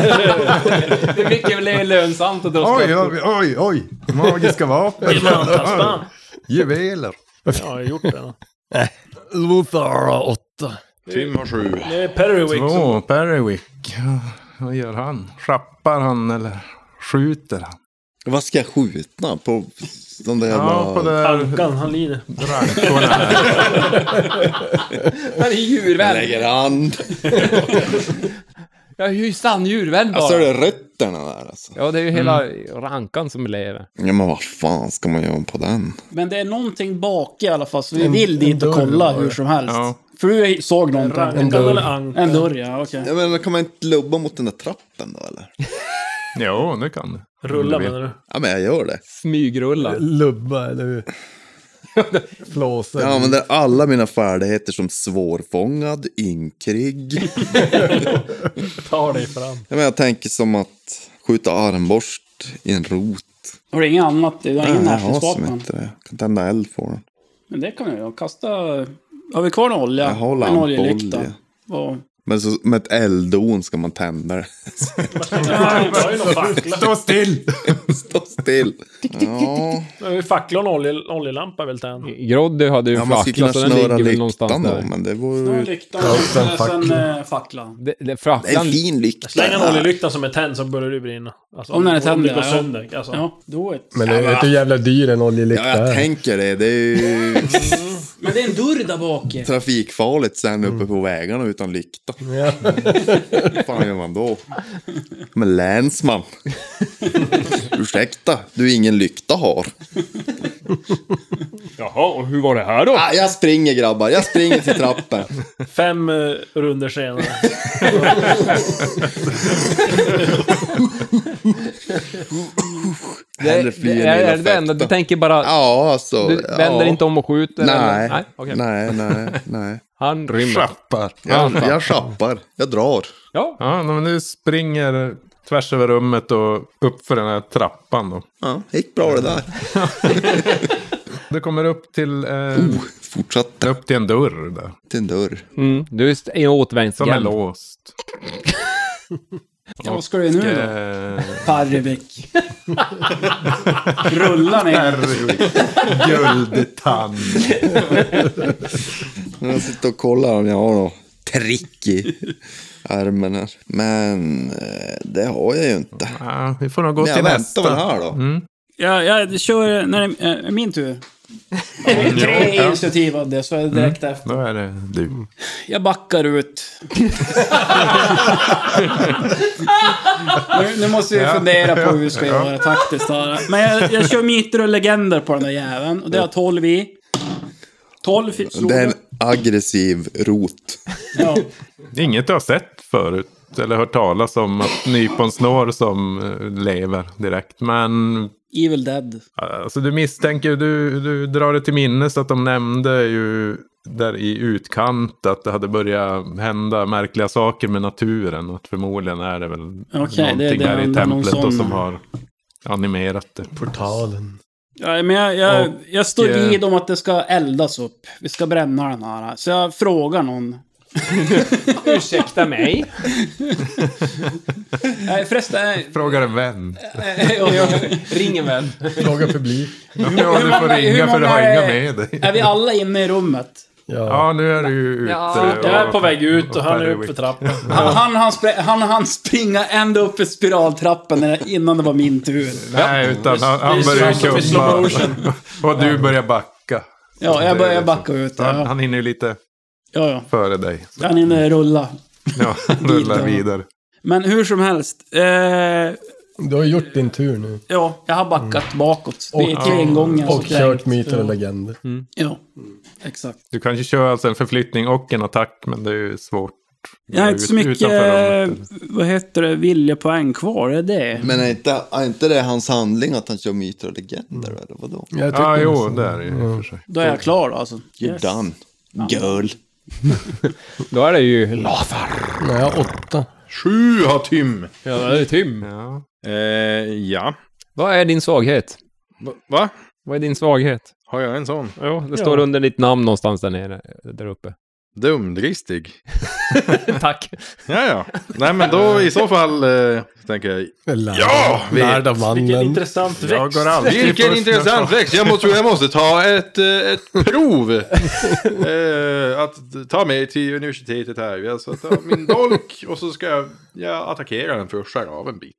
[SPEAKER 5] är mycket mer lönsamt att dra
[SPEAKER 4] Oj,
[SPEAKER 5] skatter.
[SPEAKER 4] oj, oj, oj! Magiska vapen!
[SPEAKER 2] Diamantastan.
[SPEAKER 4] Juveler!
[SPEAKER 7] Ja, jag har gjort det.
[SPEAKER 2] Lothar har åtta.
[SPEAKER 10] Tim har sju.
[SPEAKER 7] Det är Perrywick som-
[SPEAKER 4] Två, Perrywick. Ja, Vad gör han? Schappar han eller skjuter han?
[SPEAKER 9] Vad ska jag skjuta? På de där jävla...
[SPEAKER 4] på det-
[SPEAKER 7] Ankan, han lider.
[SPEAKER 5] Han är
[SPEAKER 9] Jag
[SPEAKER 5] djurvän.
[SPEAKER 9] lägger hand.
[SPEAKER 5] Jag är ju sann djurvän bara.
[SPEAKER 9] Alltså är det Mm. rötterna där alltså.
[SPEAKER 12] Ja, det är ju hela rankan som lever.
[SPEAKER 9] Ja men vad fan ska man göra på den?
[SPEAKER 3] Men det är någonting bak i alla fall, så vi
[SPEAKER 9] En-
[SPEAKER 3] vill
[SPEAKER 9] en
[SPEAKER 3] dit
[SPEAKER 9] dörr
[SPEAKER 3] och kolla
[SPEAKER 9] var det.
[SPEAKER 3] hur som helst.
[SPEAKER 9] Ja.
[SPEAKER 3] För du såg någonting.
[SPEAKER 9] En dörr.
[SPEAKER 3] En dörr, ja. Okej.
[SPEAKER 9] Ja men kan man inte lubba mot den där trappen då eller?
[SPEAKER 4] Jo, det kan du.
[SPEAKER 7] Rulla
[SPEAKER 4] Om du
[SPEAKER 7] menar
[SPEAKER 4] vill.
[SPEAKER 7] du?
[SPEAKER 9] Ja, men jag gör det.
[SPEAKER 5] Smygrulla.
[SPEAKER 2] Lubba eller hur? Flåsa.
[SPEAKER 9] Jag använder alla mina färdigheter som svårfångad, ynkrig.
[SPEAKER 7] Ta dig fram.
[SPEAKER 9] Ja, men jag tänker som att skjuta armborst i en rot.
[SPEAKER 3] Har du inget annat? Du har ingen
[SPEAKER 9] Nej, jag har som
[SPEAKER 3] närstridsvapen?
[SPEAKER 9] inte det. Jag kan tända eld på den.
[SPEAKER 3] Men det kan du göra. Kasta... Har vi kvar någon olja?
[SPEAKER 9] Jag har
[SPEAKER 3] En
[SPEAKER 9] lampa,
[SPEAKER 3] oljelykta.
[SPEAKER 9] olja.
[SPEAKER 3] Vad-
[SPEAKER 9] Men så, med ett elddon ska man tända det.
[SPEAKER 7] Stå
[SPEAKER 9] still! Stå still. Ja.
[SPEAKER 7] Men Facklan och olje, oljelampa är väl tänd?
[SPEAKER 5] Groddy hade ju
[SPEAKER 9] Ja, man ska
[SPEAKER 5] fackla,
[SPEAKER 9] kunna
[SPEAKER 5] så den ligger
[SPEAKER 9] snöra
[SPEAKER 5] väl någonstans
[SPEAKER 9] lyktan då,
[SPEAKER 5] där.
[SPEAKER 9] men det
[SPEAKER 3] Snurra
[SPEAKER 9] vore ju...
[SPEAKER 3] lyktan och sen eh, facklan.
[SPEAKER 5] Det, det, facklan...
[SPEAKER 9] Det är en fin lykta.
[SPEAKER 7] Släng en oljelykta som är tänd så börjar du brinna. Alltså,
[SPEAKER 3] Om den är tänd,
[SPEAKER 7] Om det går
[SPEAKER 3] ja.
[SPEAKER 7] sönder. Alltså.
[SPEAKER 3] Ja, då är det.
[SPEAKER 2] Men det är inte jävla dyr en oljelykta.
[SPEAKER 9] Ja, jag tänker det. Det är ju
[SPEAKER 3] Men det är en dörr där bak. eh.
[SPEAKER 9] trafikfarligt sen uppe på vägarna utan lykta. Vad fan gör man då? Men länsman. Ursäkta, du ingen lykta har.
[SPEAKER 5] Jaha, och hur var det här då?
[SPEAKER 9] Ah, jag springer grabbar, jag springer till trappen.
[SPEAKER 7] Fem uh, runder senare.
[SPEAKER 9] Hellre
[SPEAKER 5] Det,
[SPEAKER 9] fly
[SPEAKER 5] det,
[SPEAKER 9] än
[SPEAKER 5] är-
[SPEAKER 9] illa
[SPEAKER 5] är det det enda? Du
[SPEAKER 9] fäkta.
[SPEAKER 5] tänker bara...
[SPEAKER 9] Ja, alltså.
[SPEAKER 5] Du
[SPEAKER 9] ja.
[SPEAKER 5] vänder inte om och skjuter?
[SPEAKER 9] Nej,
[SPEAKER 5] Eller? Nej, okej.
[SPEAKER 9] nej, nej, nej.
[SPEAKER 5] Han rymmer.
[SPEAKER 9] Schappar. Jag, jag schappar. Jag drar.
[SPEAKER 5] Ja.
[SPEAKER 4] Ja, men du springer tvärs över rummet och upp för den här trappan då.
[SPEAKER 9] Ja, gick bra det där.
[SPEAKER 4] Du kommer upp till... Eh,
[SPEAKER 9] Oh, fortsatte.
[SPEAKER 4] Upp till en dörr där.
[SPEAKER 9] Till en dörr.
[SPEAKER 5] Mm, du är st- i en återvändsgränd.
[SPEAKER 4] Som är låst.
[SPEAKER 3] Ja, vad ska du nu då?
[SPEAKER 4] Eh,
[SPEAKER 3] Parvik. Rullar ni?
[SPEAKER 9] Guldtand. Jag sitter och kollar om jag har något trick i armen här. Men eh, det har jag ju inte.
[SPEAKER 4] vi får nog
[SPEAKER 3] gå till
[SPEAKER 9] jag
[SPEAKER 3] nästa.
[SPEAKER 9] väntar väl här då.
[SPEAKER 3] Ja, jag kör när det eh, är min tur. Tre
[SPEAKER 4] Ja. Mm.
[SPEAKER 3] initiativ av det, så är det direkt efter.
[SPEAKER 4] Då är det du.
[SPEAKER 3] Jag backar ut. nu, nu måste vi
[SPEAKER 4] Ja.
[SPEAKER 3] fundera på hur vi ska
[SPEAKER 4] Ja.
[SPEAKER 3] göra taktiskt här. Men jag, jag kör myter och legender på den där jäveln. Och det har 12 i. 12 fi- slog
[SPEAKER 9] Det är
[SPEAKER 3] jag.
[SPEAKER 9] en aggressiv rot.
[SPEAKER 3] Ja.
[SPEAKER 4] Inget du har sett förut. Eller hört talas om att nyponsnår som eh, lever direkt. Men
[SPEAKER 3] Evil Dead.
[SPEAKER 4] Alltså du misstänker, du, du drar det till minnes att de nämnde ju där i utkant att det hade börjat hända märkliga saker med naturen. Att förmodligen är det väl
[SPEAKER 3] det är
[SPEAKER 4] någonting
[SPEAKER 3] det-
[SPEAKER 4] där
[SPEAKER 3] det
[SPEAKER 4] i
[SPEAKER 3] är någon
[SPEAKER 4] templet då,
[SPEAKER 3] sån-
[SPEAKER 4] som har animerat det.
[SPEAKER 2] Portalen.
[SPEAKER 3] Ja, men jag, jag,
[SPEAKER 4] Och,
[SPEAKER 3] jag står
[SPEAKER 4] eh,
[SPEAKER 3] vid om att det ska eldas upp. Vi ska bränna den här. Så jag frågar någon.
[SPEAKER 5] Ursäkta mig?
[SPEAKER 3] Nej, förresten. eh,
[SPEAKER 4] Frågar en vän.
[SPEAKER 5] Ring en vän.
[SPEAKER 2] Fråga publik.
[SPEAKER 4] Ja, du får
[SPEAKER 3] många- hur
[SPEAKER 4] ringa för du har
[SPEAKER 3] många
[SPEAKER 4] inga
[SPEAKER 3] är-
[SPEAKER 4] med dig.
[SPEAKER 3] Är vi alla inne i rummet?
[SPEAKER 4] Ja, nu är du ju ute.
[SPEAKER 7] Ja. Jag är på väg ut och han är uppe för trappan.
[SPEAKER 3] Han, han, han, spr- han, han springa ända upp i spiraltrappan när- innan det var min tur.
[SPEAKER 4] Nej, utan han, han börjar ju kumma. Och du börjar backa.
[SPEAKER 3] Ja, jag
[SPEAKER 4] Det är
[SPEAKER 3] börjar
[SPEAKER 4] det som-
[SPEAKER 3] backa ut, ja.
[SPEAKER 4] Han, han hinner ju lite
[SPEAKER 3] Ja, ja.
[SPEAKER 4] före dig.
[SPEAKER 3] Han hinner rulla.
[SPEAKER 4] Ja, rullar vidare.
[SPEAKER 3] Men hur som helst. Eh,
[SPEAKER 2] Du har gjort din tur nu.
[SPEAKER 3] ja, jag har backat bakåt. Det är
[SPEAKER 4] Och-
[SPEAKER 3] till ingången.
[SPEAKER 2] Och
[SPEAKER 3] så trängt.
[SPEAKER 2] kört myter och
[SPEAKER 3] Ja.
[SPEAKER 2] legender.
[SPEAKER 3] Ja, exakt.
[SPEAKER 4] Du kanske kör alltså en förflyttning och en attack, men det är ju svårt.
[SPEAKER 3] Jag har inte
[SPEAKER 4] Eh, Ut-
[SPEAKER 3] så mycket, eh,
[SPEAKER 4] utanför rummet.
[SPEAKER 3] vad heter det, viljepoäng kvar. Är det
[SPEAKER 9] Men är inte, är inte det hans handling att han kör myter och legender? Eller vadå?
[SPEAKER 4] Jag tycker Ja, jo, nästan. det är det ju i och för sig.
[SPEAKER 3] Då är jag klar då, alltså.
[SPEAKER 9] You're
[SPEAKER 3] Yes.
[SPEAKER 9] done. Girl.
[SPEAKER 5] Då är det ju Lathar.
[SPEAKER 2] Nej, jag har åtta.
[SPEAKER 10] Sju har Tim.
[SPEAKER 5] Ja, det är Tim.
[SPEAKER 4] Ja.
[SPEAKER 10] Eh, ja.
[SPEAKER 5] Vad är din svaghet?
[SPEAKER 10] Va?
[SPEAKER 5] Vad är din svaghet?
[SPEAKER 10] Har jag en sån?
[SPEAKER 5] Ja, Det står under ditt namn någonstans där nere, där uppe.
[SPEAKER 10] Dumdristig.
[SPEAKER 5] Tack.
[SPEAKER 10] Ja, ja. Nej, men då i så fall eh, tänker jag... Ja! vi-
[SPEAKER 2] Lärd av mannen.
[SPEAKER 7] Vilken intressant växt.
[SPEAKER 2] Jag går alltid
[SPEAKER 10] Vilken
[SPEAKER 4] Typ
[SPEAKER 2] först
[SPEAKER 10] intressant
[SPEAKER 2] när jag-
[SPEAKER 10] växt! Jag må- tror jag måste ta ett, eh, ett prov. eh, att ta mig till universitetet här. Jag ska ta min dolk och så ska jag, jag attackera den för att skära av en bit.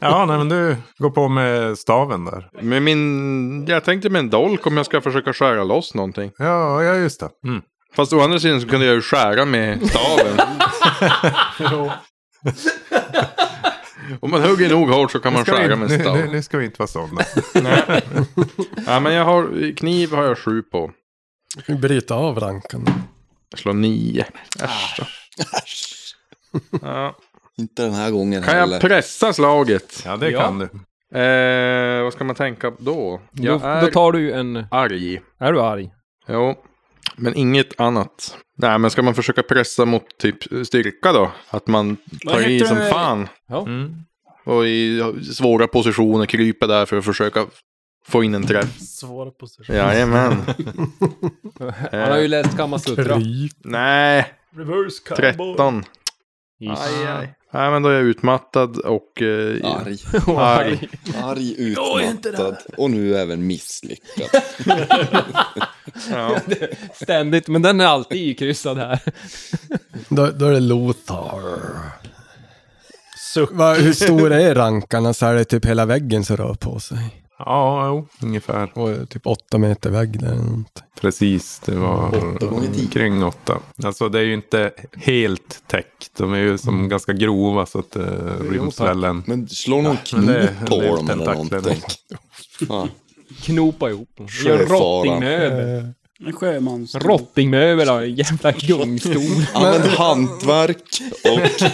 [SPEAKER 4] Ja, nej, men du går på med staven där.
[SPEAKER 10] Med min, jag tänkte med en dolk om jag ska försöka skära loss någonting.
[SPEAKER 4] Ja, ja just det. Mm.
[SPEAKER 10] Fast å andra sidan så kunde jag ju skära med staven. Om man hugger nog hårt så kan man
[SPEAKER 4] Nu ska vi
[SPEAKER 10] skära
[SPEAKER 4] inte-
[SPEAKER 10] med en stav.
[SPEAKER 4] Nu, nu, nu ska vi inte vara sådana.
[SPEAKER 10] Nej. ja, men jag har, kniv har jag sju på.
[SPEAKER 2] Vi bryter av ranken.
[SPEAKER 10] Jag slår nio. Äsch då. Ja.
[SPEAKER 9] Inte den här gången
[SPEAKER 10] Kan
[SPEAKER 9] heller.
[SPEAKER 10] jag pressa slaget?
[SPEAKER 4] Ja, det kan du.
[SPEAKER 10] Eh, vad ska man tänka då?
[SPEAKER 4] Då- då tar
[SPEAKER 10] du en... Arg. Är du arg? Jo, men inget annat. Nej, men ska man försöka pressa mot typ styrka då? Att man
[SPEAKER 3] Vad
[SPEAKER 10] tar i
[SPEAKER 3] heter
[SPEAKER 10] som
[SPEAKER 3] det?
[SPEAKER 10] fan.
[SPEAKER 5] Ja.
[SPEAKER 10] Och i svåra positioner krypa där för att försöka få in en träff.
[SPEAKER 7] Svåra positioner.
[SPEAKER 10] Jajamän. Eh,
[SPEAKER 5] Han har ju läst Kamasutra.
[SPEAKER 10] Nej.
[SPEAKER 7] Reverse cowboy.
[SPEAKER 10] 13.
[SPEAKER 7] Yes.
[SPEAKER 10] Aj, aj. Nej, men då är jag utmattad och... Eh,
[SPEAKER 9] Arg.
[SPEAKER 10] Arg.
[SPEAKER 9] Arg,
[SPEAKER 10] Jag är inte
[SPEAKER 9] utmattad och nu även misslyckad.
[SPEAKER 10] Ja.
[SPEAKER 5] Ständigt, men den är alltid ikryssad här.
[SPEAKER 2] Då, då är det Lothar. Va, hur stora är rankarna? Så här är det typ hela väggen som rör på sig.
[SPEAKER 4] Ja, jo, ungefär.
[SPEAKER 2] Och typ åtta meter vägg där. eller något.
[SPEAKER 4] Precis, det var
[SPEAKER 2] Åtta gånger tio.
[SPEAKER 4] kring åtta. Alltså det är ju inte helt täckt. De är ju som
[SPEAKER 9] Mm.
[SPEAKER 4] ganska grova så att det ryms
[SPEAKER 9] tack.
[SPEAKER 4] väl en...
[SPEAKER 9] Men slå någon
[SPEAKER 4] men det är en
[SPEAKER 9] knut på
[SPEAKER 4] del
[SPEAKER 9] dem eller
[SPEAKER 4] tentakler.
[SPEAKER 9] någonting. Fan.
[SPEAKER 5] Knopa ihop dem. Gör
[SPEAKER 9] Sjöfaran.
[SPEAKER 2] Eh.
[SPEAKER 5] rottingmöbel.
[SPEAKER 3] En sjömans.
[SPEAKER 5] Rottingmöbel har en jävla gungstol.
[SPEAKER 9] Använd hantverk och...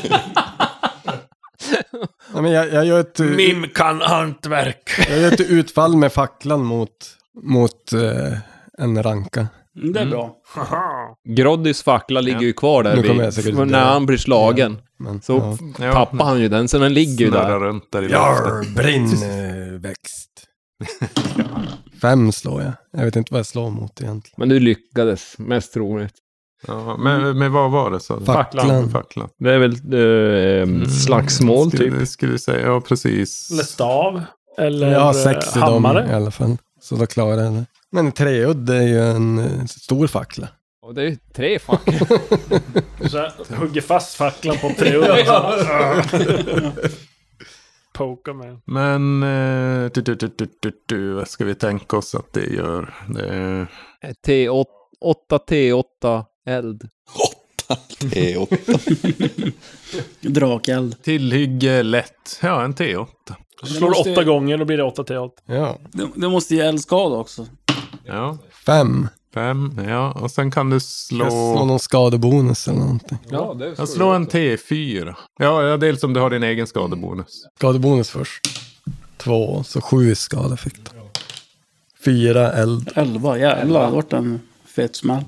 [SPEAKER 2] Nej, men jag, jag gör ett...
[SPEAKER 7] Mim kan hantverk.
[SPEAKER 2] Jag gör ett utfall med facklan mot, mot eh, en ranka.
[SPEAKER 3] Mm, Det är
[SPEAKER 9] Mm.
[SPEAKER 3] bra.
[SPEAKER 5] Groddys fackla ligger ju kvar där
[SPEAKER 2] Nu kommer
[SPEAKER 5] vid,
[SPEAKER 2] jag säkert
[SPEAKER 5] för
[SPEAKER 2] dö.
[SPEAKER 5] när han blir slagen.
[SPEAKER 2] men-
[SPEAKER 5] så
[SPEAKER 2] ja.
[SPEAKER 5] f- tappar han ju den, så den ligger ju
[SPEAKER 4] Snurrar
[SPEAKER 5] där.
[SPEAKER 4] runt där i
[SPEAKER 2] Jarr, brinnväxt. Fem slår jag. Jag vet inte vad jag slår mot egentligen.
[SPEAKER 5] Men du lyckades, mest troligt.
[SPEAKER 4] Ja,
[SPEAKER 5] Mm.
[SPEAKER 4] men, men vad var det? Så?
[SPEAKER 2] Facklan.
[SPEAKER 4] Facklan.
[SPEAKER 12] Det är väl
[SPEAKER 5] Mm.
[SPEAKER 4] Mm,
[SPEAKER 12] eh, slagsmål
[SPEAKER 4] skulle,
[SPEAKER 12] typ.
[SPEAKER 4] Det skulle jag säga, ja precis.
[SPEAKER 7] Eller stav. Eller
[SPEAKER 2] jag har sex i
[SPEAKER 7] eh,
[SPEAKER 2] dem
[SPEAKER 7] hammare.
[SPEAKER 2] i alla fall. Så då klarar jag det. Men treudd är ju en eh, stor fackla.
[SPEAKER 5] Och det är ju tre facklor.
[SPEAKER 7] Så jag hugger fast facklan på treudden. Poka med
[SPEAKER 4] Men eh, du, du, du, du, du, du, vad ska vi tänka oss att det gör? Det,
[SPEAKER 5] Eh, T8, 8 T8 eld.
[SPEAKER 3] Drakeld.
[SPEAKER 4] Tillhygge lätt. Ja, en T8.
[SPEAKER 7] Slår
[SPEAKER 3] måste-
[SPEAKER 7] åtta gånger, då blir det åtta till åtta.
[SPEAKER 2] Ja.
[SPEAKER 3] Det, det måste ge eldskada också.
[SPEAKER 4] Ja.
[SPEAKER 2] Fem.
[SPEAKER 4] Fem, ja. Och sen kan du
[SPEAKER 2] Jag slår
[SPEAKER 4] slå...
[SPEAKER 2] någon skadebonus eller någonting.
[SPEAKER 5] Ja, det
[SPEAKER 4] Jag slår en T4. Ja, ja, dels om du har din egen skadebonus.
[SPEAKER 2] Skadebonus först. Två, så sju skada fick de. Fyra eld.
[SPEAKER 3] Elva, jävlar. Vart en fet smäll.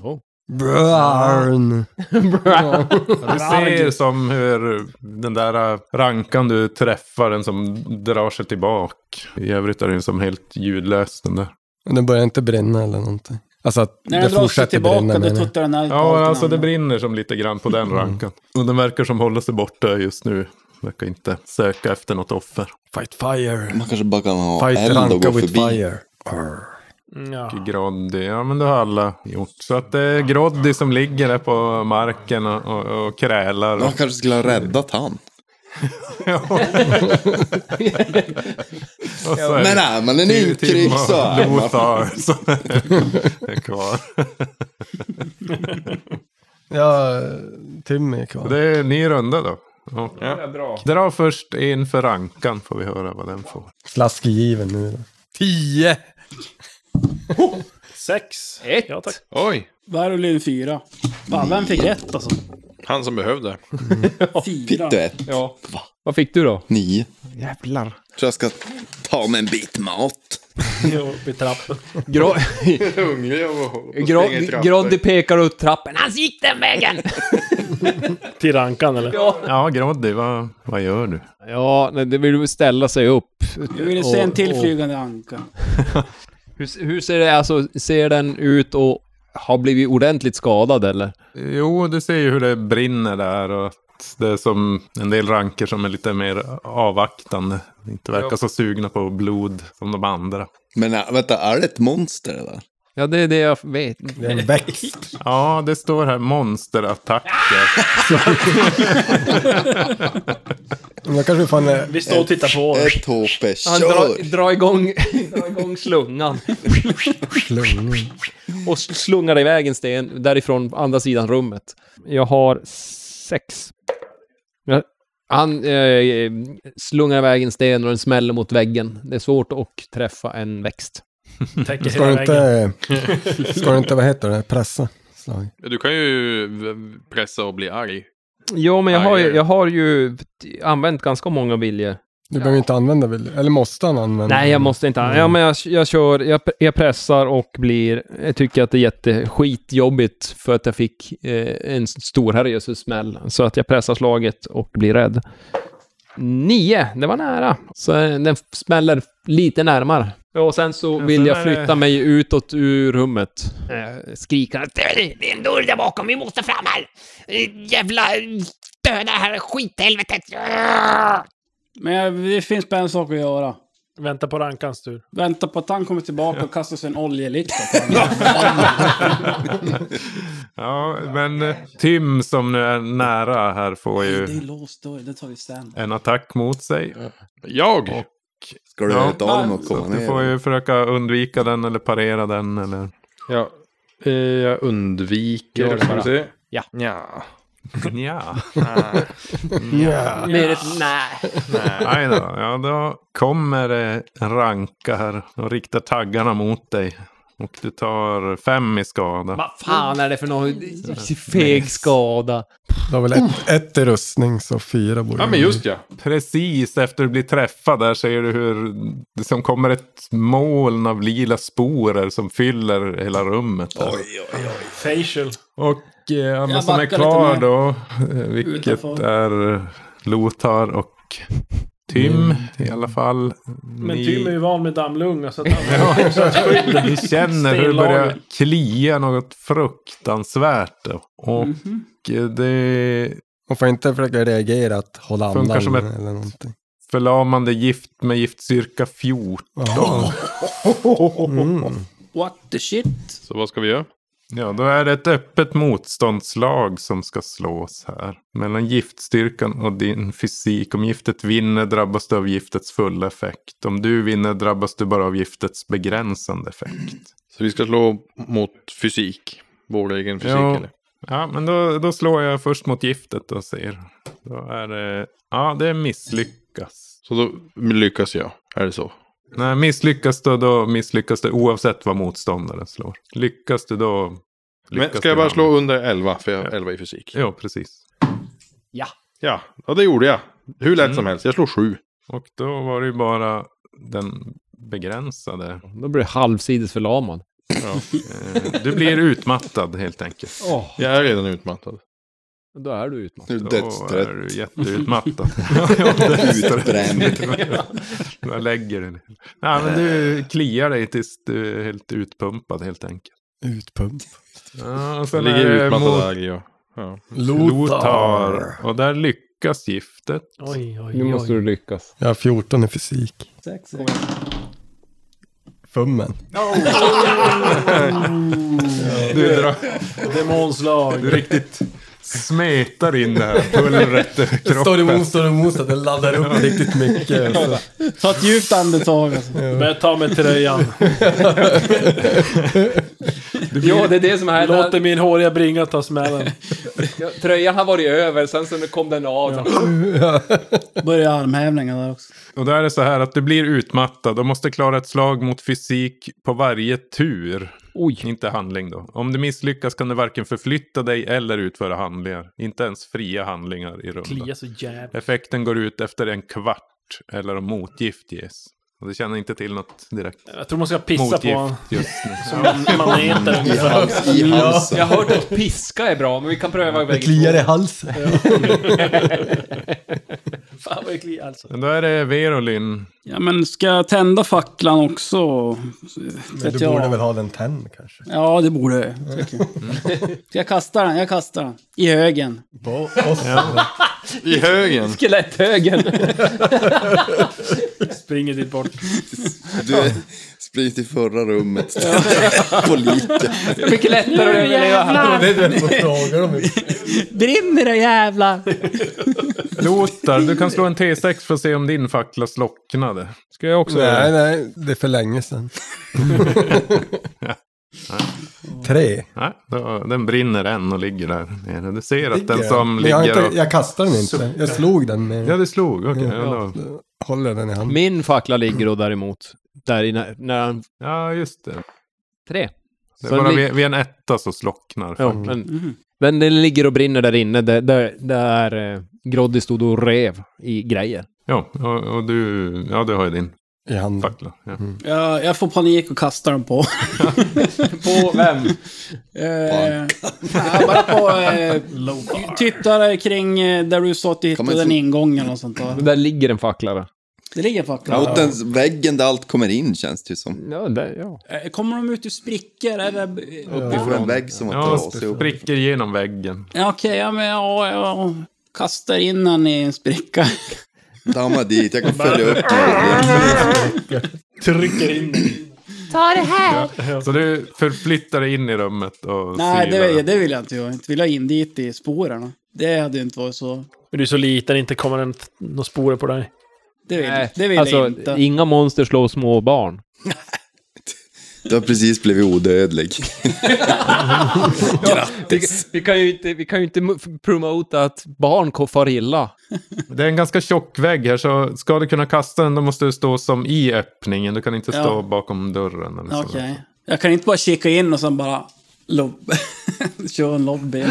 [SPEAKER 2] Brarn.
[SPEAKER 4] Ja, Du ser som hur den där äh, rankan du träffar, den som drar sig tillbaka. I övrigt är den som helt ljudlös den där.
[SPEAKER 2] Men Den börjar inte brinna eller någonting. Alltså att
[SPEAKER 3] När
[SPEAKER 2] det
[SPEAKER 3] den drar sig
[SPEAKER 2] fortsätter
[SPEAKER 3] tillbaka,
[SPEAKER 2] brinna
[SPEAKER 3] då
[SPEAKER 2] menar jag.
[SPEAKER 3] tuttar den eld på allt
[SPEAKER 4] Ja,
[SPEAKER 3] den
[SPEAKER 4] alltså det
[SPEAKER 3] andra.
[SPEAKER 4] brinner som lite grann på den rankan. Och den verkar som håller sig borta just nu. Verkar inte söka efter något offer.
[SPEAKER 2] Fight fire.
[SPEAKER 9] Man kanske bara kan ha
[SPEAKER 4] Fight
[SPEAKER 9] eld och
[SPEAKER 4] Ranka
[SPEAKER 9] gå
[SPEAKER 4] with
[SPEAKER 9] förbi.
[SPEAKER 4] fire.
[SPEAKER 7] Mm, Ja.
[SPEAKER 4] Och Groddy, ja men det har alla gjort. Så att det är Groddy som ligger där på marken och, och, och krälar.
[SPEAKER 9] Man kanske skulle ha räddat han.
[SPEAKER 4] Och så är
[SPEAKER 9] Men
[SPEAKER 4] det
[SPEAKER 9] nej, men en
[SPEAKER 4] Tim- Tim
[SPEAKER 9] inkrig
[SPEAKER 4] och
[SPEAKER 9] så är man.
[SPEAKER 4] Lothar som är kvar.
[SPEAKER 2] Ja, Timmy är kvar.
[SPEAKER 4] Det är en ny runda då. Och
[SPEAKER 2] Ja.
[SPEAKER 4] Dra först in för rankan får vi höra vad den får.
[SPEAKER 2] Slaskgiven nu då. Tio!
[SPEAKER 7] Sex.
[SPEAKER 5] Ett.
[SPEAKER 7] Ja, tack.
[SPEAKER 10] Oj.
[SPEAKER 3] Varulin fyra. Fan, vem fick rätt alltså?
[SPEAKER 10] Han som behövde.
[SPEAKER 3] Fyra.
[SPEAKER 9] Pytteett.
[SPEAKER 5] Ja. Vad fick du då?
[SPEAKER 9] Nio.
[SPEAKER 5] Jävlar.
[SPEAKER 9] Tror jag ska ta med en bit mat.
[SPEAKER 7] Jo, i trappen.
[SPEAKER 5] Gro-
[SPEAKER 10] Hungrig av att- att springa i
[SPEAKER 5] Gro-
[SPEAKER 10] trappor.
[SPEAKER 5] Groddy pekar ut trappen.
[SPEAKER 8] Han gick den vägen!
[SPEAKER 7] Till rankan eller?
[SPEAKER 4] Ja, Groddy, vad, vad gör du?
[SPEAKER 5] Ja, nej, det vill väl ställa sig upp.
[SPEAKER 3] Jag ville se en
[SPEAKER 5] Och-
[SPEAKER 3] till
[SPEAKER 5] och-
[SPEAKER 3] flygande anka.
[SPEAKER 5] Hur, hur ser det, alltså, ser den ut och har blivit ordentligt skadad eller?
[SPEAKER 4] Jo, du ser ju hur det brinner där och att det är som en del ranker som är lite mer avvaktande. Inte verkar
[SPEAKER 9] Ja.
[SPEAKER 4] så sugna på blod som de andra.
[SPEAKER 9] Men äh, vänta, är det ett monster eller?
[SPEAKER 5] Ja, det är det jag vet.
[SPEAKER 2] Det är en växt.
[SPEAKER 4] Ja, det står här monsterattacker.
[SPEAKER 2] Men då kanske vi fan är...
[SPEAKER 7] Vi står och tittar på oss.
[SPEAKER 9] Ett HP,
[SPEAKER 5] Han
[SPEAKER 9] kör!
[SPEAKER 5] drar, drar, igång, drar igång slungan. och sl- slungar iväg en sten därifrån på andra sidan rummet.
[SPEAKER 12] Jag har sex.
[SPEAKER 5] Ja, Han eh, slungar iväg en sten och den smäller mot väggen. Det är svårt att träffa en växt.
[SPEAKER 7] Täcker
[SPEAKER 2] Ska du
[SPEAKER 7] hela
[SPEAKER 2] inte...
[SPEAKER 7] väggen.
[SPEAKER 2] Ska du inte, vad heter det, pressa? Slag.
[SPEAKER 10] Du kan ju v- pressa och bli arg.
[SPEAKER 5] Jo, men jag har, ju- jag har ju använt ganska många viljor.
[SPEAKER 2] Du behöver inte använda väl? Eller måste han använda?
[SPEAKER 5] Nej, jag måste inte. Ja, men jag, jag kör, jag, jag pressar och blir, jag tycker att det är jätteskitjobbigt för att jag fick eh, en stor herrejösses smäll. Så att jag pressar slaget och blir rädd. Nio, det var nära. Så eh, den smäller lite närmare. Och sen så vill
[SPEAKER 8] sen
[SPEAKER 5] jag
[SPEAKER 8] är det-
[SPEAKER 5] flytta mig utåt ur rummet.
[SPEAKER 8] Eh, Skriker att "Det det är en dörr där bakom, vi måste fram här! Eh, Jävla eh, döda här skithelvetet! Ah!"
[SPEAKER 3] Men jag, det finns bara en sak att göra.
[SPEAKER 7] Vänta på Rankans tur.
[SPEAKER 3] Vänta på att han kommer tillbaka och kastar sin oljelitta
[SPEAKER 4] Ja, men eh, Tim som nu är nära här får
[SPEAKER 3] Det är
[SPEAKER 4] ju
[SPEAKER 3] låst dörr, det tar vi sen.
[SPEAKER 4] en attack mot sig.
[SPEAKER 10] Jag?
[SPEAKER 4] Och,
[SPEAKER 9] Ska du ta dem och
[SPEAKER 4] så
[SPEAKER 9] komma
[SPEAKER 4] Du
[SPEAKER 9] ner?
[SPEAKER 4] får ju försöka undvika den eller parera den eller...
[SPEAKER 10] Ja, eh, jag undviker. Ska vi se.
[SPEAKER 8] Ja.
[SPEAKER 10] Nja.
[SPEAKER 4] Nja.
[SPEAKER 10] Nej.
[SPEAKER 4] Nja.
[SPEAKER 8] Mer ett nej.
[SPEAKER 4] Nej då, ja då kommer eh, en ranka här och riktar taggarna mot dig. Och du tar fem i skada.
[SPEAKER 5] Vad fan är det för någon feg skada?
[SPEAKER 2] Du har väl ett, ett i rustning, så fyra borde det bli.
[SPEAKER 4] Precis efter du blir träffad där ser du hur det som kommer ett moln av lila sporer som fyller hela rummet. Där.
[SPEAKER 7] Facial.
[SPEAKER 4] Och eh, alla
[SPEAKER 7] Jag
[SPEAKER 4] som är
[SPEAKER 7] backar
[SPEAKER 4] kvar
[SPEAKER 7] lite mer.
[SPEAKER 4] då, eh, vilket
[SPEAKER 7] Utanför.
[SPEAKER 4] är Lothar och Tim
[SPEAKER 7] Mm.
[SPEAKER 4] i alla fall.
[SPEAKER 7] Men
[SPEAKER 4] Ni-
[SPEAKER 7] Tim är ju van med dammlunga så att han...
[SPEAKER 4] Ni känner hur det börjar klia något fruktansvärt. då. Och
[SPEAKER 7] Mhm.
[SPEAKER 4] eh, det
[SPEAKER 2] Man får inte försöka reagera att hålla andan.
[SPEAKER 4] funkar som ett
[SPEAKER 2] Eller någonting.
[SPEAKER 4] förlamande gift med giftstyrka 14.
[SPEAKER 3] What the shit?
[SPEAKER 10] Så vad ska vi göra?
[SPEAKER 4] Ja, då är det ett öppet motståndslag som ska slås här. Mellan giftstyrkan och din fysik. Om giftet vinner drabbas du av giftets fulla effekt. Om du vinner drabbas du bara av giftets begränsande effekt.
[SPEAKER 10] Så vi ska slå mot fysik. Vår egen fysik
[SPEAKER 4] Ja.
[SPEAKER 10] eller?
[SPEAKER 4] Ja, men då, då slår jag först mot giftet och ser. Då är det... Ja, det misslyckas.
[SPEAKER 10] Så då lyckas jag. Är det så?
[SPEAKER 4] Nej, misslyckas du då misslyckas du oavsett vad motståndaren slår. Lyckas du då...
[SPEAKER 10] Men
[SPEAKER 4] lyckas
[SPEAKER 10] ska jag
[SPEAKER 4] du
[SPEAKER 10] bara
[SPEAKER 4] då.
[SPEAKER 10] slå under 11? För jag har 11 i fysik.
[SPEAKER 4] Ja, precis.
[SPEAKER 8] Ja.
[SPEAKER 10] Ja, ja det gjorde jag. Hur lätt som helst. Jag slog 7.
[SPEAKER 4] Och då var det ju bara den begränsade.
[SPEAKER 5] Då blir du halvsides förlamad.
[SPEAKER 4] Eh, Du blir utmattad helt enkelt.
[SPEAKER 5] Åh.
[SPEAKER 10] Jag är redan utmattad.
[SPEAKER 5] Då är du utmattad.
[SPEAKER 4] Då är du jätteutmattad.
[SPEAKER 5] Utbränd.
[SPEAKER 4] Då lägger du dig. Nej, men du kliar dig tills du är helt utpumpad helt enkelt.
[SPEAKER 2] Utpump.
[SPEAKER 4] Ja, och sen
[SPEAKER 10] Jag ligger
[SPEAKER 4] är det
[SPEAKER 10] utmattad
[SPEAKER 4] mot-
[SPEAKER 10] där, ja. Ja.
[SPEAKER 4] Lothar. Och där lyckas giftet.
[SPEAKER 7] Oj, oj,
[SPEAKER 5] Nu måste du lyckas.
[SPEAKER 2] Jag har 14 i fysik.
[SPEAKER 3] Sex.
[SPEAKER 2] Fummen.
[SPEAKER 4] Du drar.
[SPEAKER 7] Demonslag.
[SPEAKER 4] Du riktigt smetar in det här pulvret i kroppen.
[SPEAKER 2] Står emot, står emot att det laddar upp riktigt mycket. Så.
[SPEAKER 3] Ta ett djupt andetag. Alltså.
[SPEAKER 7] Börja ta med tröjan.
[SPEAKER 5] Ja, det är det som är-
[SPEAKER 7] Låter min håriga bringa ta smällen.
[SPEAKER 5] Ja, tröjan har varit över, sen så kom den av.
[SPEAKER 3] Börja armhävningar där också.
[SPEAKER 4] Och då är det så här att du blir utmattad och måste klara ett slag mot fysik på varje tur. Inte handling då. Om du misslyckas kan du varken förflytta dig eller utföra handlingar. Inte ens fria handlingar i
[SPEAKER 7] Klia
[SPEAKER 4] rundan.
[SPEAKER 7] så jävligt.
[SPEAKER 4] Effekten går ut efter en kvart eller om motgift ges. Och det känner inte till något direkt.
[SPEAKER 7] Jag tror man ska pissa på
[SPEAKER 4] motgift
[SPEAKER 7] honom.
[SPEAKER 4] just nu.
[SPEAKER 7] Som en maneter I ungefär. hals- i halsen.
[SPEAKER 5] Jag har hört att piska är bra, men vi kan pröva bägge
[SPEAKER 2] Det kliar
[SPEAKER 5] två.
[SPEAKER 2] i halsen.
[SPEAKER 7] Fan vad det kliar alltså.
[SPEAKER 4] Men då är det Verolyn.
[SPEAKER 3] Ja, men ska jag tända facklan också?
[SPEAKER 2] Men du borde väl ha den tänd kanske?
[SPEAKER 3] Ja, det borde jag. tycker jag.
[SPEAKER 2] Mm.
[SPEAKER 3] Ska jag kasta den? Jag kastar den. I högen.
[SPEAKER 2] Ja.
[SPEAKER 10] I högen.
[SPEAKER 5] Skeletthögen.
[SPEAKER 7] Springer dit bort.
[SPEAKER 9] Du springer till förra rummet. på liket.
[SPEAKER 5] Det är mycket lättare att
[SPEAKER 3] Nu
[SPEAKER 5] överleva.
[SPEAKER 3] jävlar!
[SPEAKER 2] Det är det man frågar om.
[SPEAKER 3] Brinner det jävlar!
[SPEAKER 4] Lothar, du kan slå en T6 för att se om din fackla slocknade. Ska jag också göra
[SPEAKER 2] Nej,
[SPEAKER 4] det?
[SPEAKER 2] nej, det är för länge sedan. Tre.
[SPEAKER 4] Nej, då, den brinner än och ligger där nere. Du ser att den
[SPEAKER 2] Ligger
[SPEAKER 4] som
[SPEAKER 2] Men jag, har
[SPEAKER 4] ligger och...
[SPEAKER 2] inte, jag kastade den inte. Jag slog den med...
[SPEAKER 4] Ja, du slog. Okej.
[SPEAKER 2] Ja.
[SPEAKER 4] ja,
[SPEAKER 2] Håller den i handen.
[SPEAKER 5] Min fackla ligger då däremot, där i när, när han...
[SPEAKER 4] Ja, just det.
[SPEAKER 5] Tre.
[SPEAKER 4] Det är
[SPEAKER 5] Så
[SPEAKER 4] bara
[SPEAKER 5] li-
[SPEAKER 4] vid, vid en etta så slocknar
[SPEAKER 5] Ja,
[SPEAKER 7] Mm.
[SPEAKER 4] fackeln.
[SPEAKER 5] men, men den ligger och brinner där inne, där, där, där eh, Groddy stod och rev i grejer.
[SPEAKER 4] Ja, och, och du, ja, du har ju din
[SPEAKER 3] Mm.
[SPEAKER 2] I hand.
[SPEAKER 4] fackla. Ja.
[SPEAKER 3] Jag, jag får panik och kastar den på.
[SPEAKER 5] på vem?
[SPEAKER 3] Eh, nej, bara på... Eh, typ där kring eh, där du sa att du hittade
[SPEAKER 9] man
[SPEAKER 3] den
[SPEAKER 9] få-
[SPEAKER 3] ingången och sånt där.
[SPEAKER 5] Där ligger en fackla där.
[SPEAKER 3] Det ligger faktiskt.
[SPEAKER 9] Ja, åt den väggen där allt kommer in känns det ju som.
[SPEAKER 5] Ja, där, ja.
[SPEAKER 3] Eh, Kommer de ut ur sprickor eller?
[SPEAKER 9] Uppifrån en vägg som var
[SPEAKER 4] Ja,
[SPEAKER 9] trasig. upp.
[SPEAKER 4] spricker genom väggen.
[SPEAKER 3] Ja, okej, ja men ja, ja. Kastar in den i en spricka.
[SPEAKER 9] Damma dit, jag kan följa upp
[SPEAKER 7] Trycker in
[SPEAKER 14] Ta det här!
[SPEAKER 4] Så du förflyttar dig in i rummet och
[SPEAKER 3] Nej,
[SPEAKER 4] silar
[SPEAKER 3] det, det vill jag inte göra. Inte vill jag in dit i spåren. Det hade ju inte varit så...
[SPEAKER 7] Men du är så liten, inte kommer en, några sporer på dig.
[SPEAKER 3] Det vill, det vill jag inte.
[SPEAKER 5] alltså, inga monster slår små barn.
[SPEAKER 9] Du har precis blivit odödlig.
[SPEAKER 5] vi, vi, kan ju inte, vi kan ju inte mo- promota att barn ko- far illa.
[SPEAKER 4] Det är en ganska tjock vägg här, så ska du kunna kasta den då måste du stå som i öppningen. Du kan inte stå
[SPEAKER 3] Ja.
[SPEAKER 4] bakom dörren. Eller
[SPEAKER 3] Okej.
[SPEAKER 4] så.
[SPEAKER 3] Jag kan inte bara kika in och sen bara... Lob... Köra en lobby.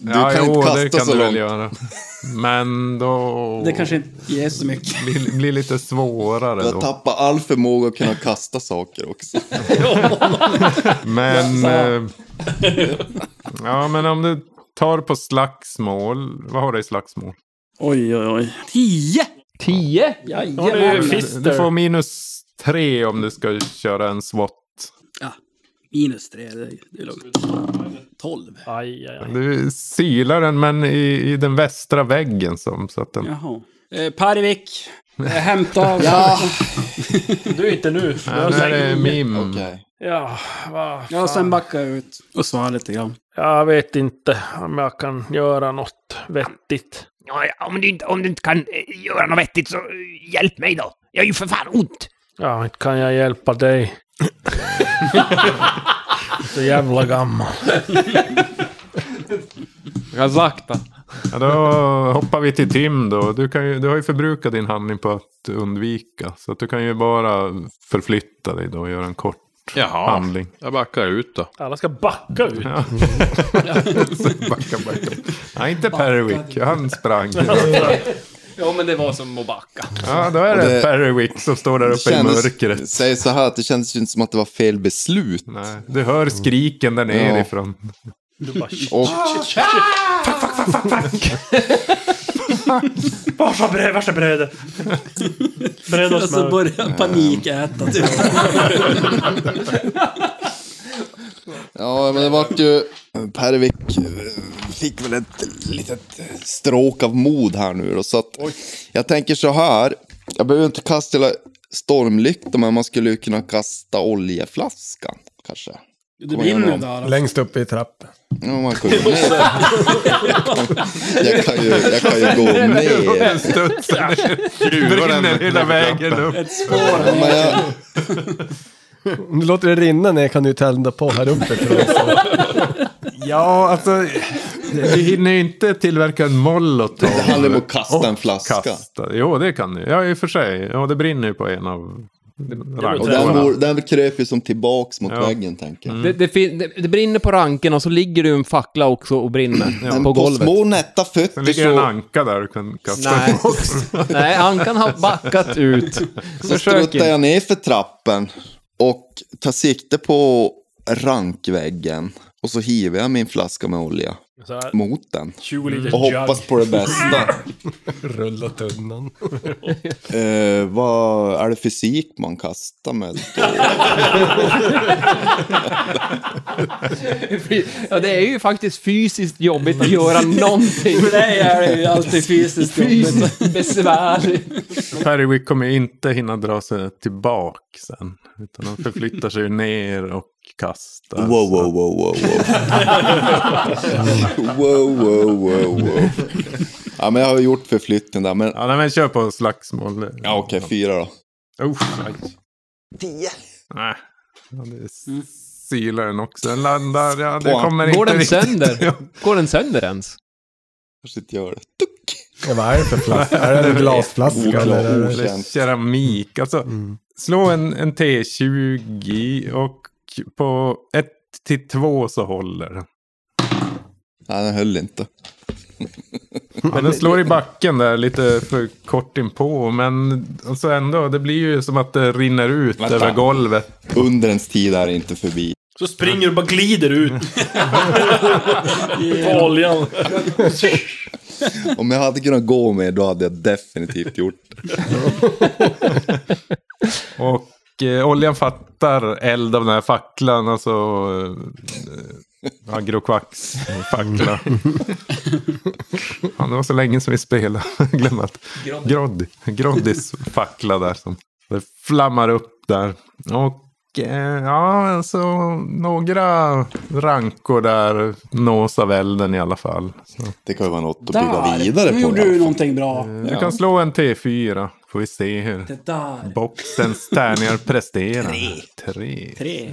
[SPEAKER 4] Du ja, kan jo, inte kasta det kan så du väl göra. Men då...
[SPEAKER 3] Det kanske inte ger så mycket.
[SPEAKER 4] Blir, blir lite svårare
[SPEAKER 9] Du har
[SPEAKER 4] då.
[SPEAKER 9] tappat all förmåga att kunna kasta saker också.
[SPEAKER 4] Men...
[SPEAKER 9] Ja,
[SPEAKER 4] eh, ja, men om du tar på slagsmål. Vad har du i slagsmål?
[SPEAKER 3] Oj, oj, oj. Tio!
[SPEAKER 5] Tio?
[SPEAKER 3] Jajamän.
[SPEAKER 4] Du får minus tre om du ska köra en SWAT.
[SPEAKER 3] Minus tre, det är det är lugnt. Tolv.
[SPEAKER 7] Aj, aj, aj.
[SPEAKER 4] Du silar den, men i, i den västra väggen. Som, så att den...
[SPEAKER 3] Jaha. Eh, Parvik. Eh, hämta av...
[SPEAKER 7] Ja. Du är inte nu.
[SPEAKER 4] Ja, nu är det mim.
[SPEAKER 7] Ja, vad fan.
[SPEAKER 3] Ja, sen backar jag ut. Och svara lite grann.
[SPEAKER 7] Jag vet inte om jag kan göra något vettigt.
[SPEAKER 8] Ja, ja, om, du inte, om du inte kan eh, göra något vettigt så eh, hjälp mig då. Jag är ju för fan ont.
[SPEAKER 7] Ja, inte kan jag hjälpa dig. Så jävla gammal.
[SPEAKER 5] Jag sakta.
[SPEAKER 4] Ja, då hoppar vi till Tim då. Du, kan ju, du har ju förbrukat din handling på att undvika. Så att du kan ju bara förflytta dig då och göra en kort
[SPEAKER 10] Jaha.
[SPEAKER 4] handling.
[SPEAKER 10] Jag backar ut då.
[SPEAKER 7] Alla ska backa ut.
[SPEAKER 4] Ja. backa, backa. Nej, inte Perwick. Han sprang.
[SPEAKER 5] ja, men det var som att backa.
[SPEAKER 4] Ja, då är
[SPEAKER 9] Och
[SPEAKER 4] det
[SPEAKER 9] det-
[SPEAKER 4] Perwick som står där uppe i mörkret.
[SPEAKER 9] Säg så här, att det kändes ju inte som att det var fel beslut.
[SPEAKER 4] Nej, du hör skriken där nerifrån.
[SPEAKER 7] Du bara shit,
[SPEAKER 9] Och-
[SPEAKER 7] shit, shit, shit. Fuck, fuck, fuck, fuck, fuck. Vars är brödet? Vars är brödet? Bröd och
[SPEAKER 3] Och så
[SPEAKER 7] smör.
[SPEAKER 3] börjar jag panikäta. Typ.
[SPEAKER 9] Ja, men det vart ju... Pervik eh, fick väl ett litet eh, stråk av mod här nu då, så att jag tänker så här. Jag behöver inte kasta hela stormlyktan, men man skulle ju kunna kasta oljeflaskan kanske.
[SPEAKER 3] Det
[SPEAKER 9] Komma
[SPEAKER 3] brinner
[SPEAKER 9] igenom.
[SPEAKER 3] där.
[SPEAKER 2] Längst upp i trappen.
[SPEAKER 9] Ja, man kan ju gå ner. Jag kan ju, jag kan ju gå ner.
[SPEAKER 4] Studsar ner. Brinner hela vägen upp.
[SPEAKER 9] Ja, men jag,
[SPEAKER 2] Om du låter det rinna ner kan du ju tända på här uppe. tror jag.
[SPEAKER 4] Ja, alltså... Vi hinner ju inte tillverka en molotov.
[SPEAKER 9] Det handlar om att kasta
[SPEAKER 4] Och
[SPEAKER 9] en flaska.
[SPEAKER 4] Kasta. Jo, det kan du. Ja, i och för sig. Ja, det brinner ju på en av
[SPEAKER 9] och den,
[SPEAKER 4] rankorna.
[SPEAKER 9] vore- den kröp ju som tillbaks mot
[SPEAKER 4] Ja.
[SPEAKER 9] väggen, tänker jag.
[SPEAKER 5] Mm. Det, det, fin- det, det brinner på ranken och så ligger du en fackla också och brinner
[SPEAKER 9] Men
[SPEAKER 5] på
[SPEAKER 9] på,
[SPEAKER 5] golvet.
[SPEAKER 9] små nätta
[SPEAKER 4] Sen
[SPEAKER 9] fötter
[SPEAKER 4] ligger det en
[SPEAKER 9] så,
[SPEAKER 4] anka där du kan kasta
[SPEAKER 5] Nej.
[SPEAKER 4] den också.
[SPEAKER 5] Nej, ankan har backat ut.
[SPEAKER 9] så
[SPEAKER 5] Försök
[SPEAKER 9] struttar jag
[SPEAKER 5] inte.
[SPEAKER 9] ner för trappen och tar sikte på rankväggen. Och så hivar jag min flaska med olja
[SPEAKER 7] Så här.
[SPEAKER 9] mot den.
[SPEAKER 7] 20 liter
[SPEAKER 9] Och hoppas
[SPEAKER 7] jug.
[SPEAKER 9] på det bästa.
[SPEAKER 2] Rulla tunnan.
[SPEAKER 9] Eh, vad är det fysik man kastar med?
[SPEAKER 5] Ja, det är ju faktiskt fysiskt jobbigt att göra någonting.
[SPEAKER 3] För dig är det ju alltid fysiskt jobbigt.
[SPEAKER 5] Fysiskt besvär.
[SPEAKER 4] Perrywick kommer ju inte hinna dra sig tillbaka sen. Utan han förflyttar sig ju ner och kastar.
[SPEAKER 9] Wow, wow, wow, wow, wow. wow, wow, wow, wow. Ja, men jag har gjort förflytten där. Men...
[SPEAKER 4] Ja, nej, men kör på slagsmål.
[SPEAKER 9] Ja, okej, fyra då.
[SPEAKER 4] Usch, aj.
[SPEAKER 9] Tio.
[SPEAKER 4] Nej. Ja, det s- silar den också. Den landar. Ja, det kommer inte
[SPEAKER 5] Går den
[SPEAKER 4] riktigt.
[SPEAKER 5] sönder? Går den sönder ens?
[SPEAKER 9] Kanske inte gör det.
[SPEAKER 2] Ja, vad är det för flaska? Är det en glasflaska? eller Mm. är det-
[SPEAKER 4] Eller keramik. Alltså, slå en, en T20 och på ett till två så håller den.
[SPEAKER 9] Nej, den höll inte.
[SPEAKER 4] Men den slår i backen där lite för kort inpå. Men alltså ändå, det blir ju som att det rinner ut
[SPEAKER 9] Vänta.
[SPEAKER 4] över golvet.
[SPEAKER 9] Undrens tid är inte förbi.
[SPEAKER 6] Så springer du och bara glider ut. På oljan.
[SPEAKER 9] Om jag hade kunnat gå med då hade jag definitivt gjort
[SPEAKER 4] Och eh, oljan fattar eld av den här facklan, alltså eh, Agrokvax fackla. Han det var så länge som vi spelade, glöm att. Grodd. Groddis fackla där som det flammar upp där. Och eh, ja, alltså några rankor där nås av elden i alla fall.
[SPEAKER 9] Det kan ju vara något
[SPEAKER 3] nu gjorde du någonting bra.
[SPEAKER 4] Du kan slå en T4. Får vi se hur
[SPEAKER 3] Det där.
[SPEAKER 4] boxens tärningar presterar.
[SPEAKER 3] Tre.
[SPEAKER 4] Tre.
[SPEAKER 3] Tre.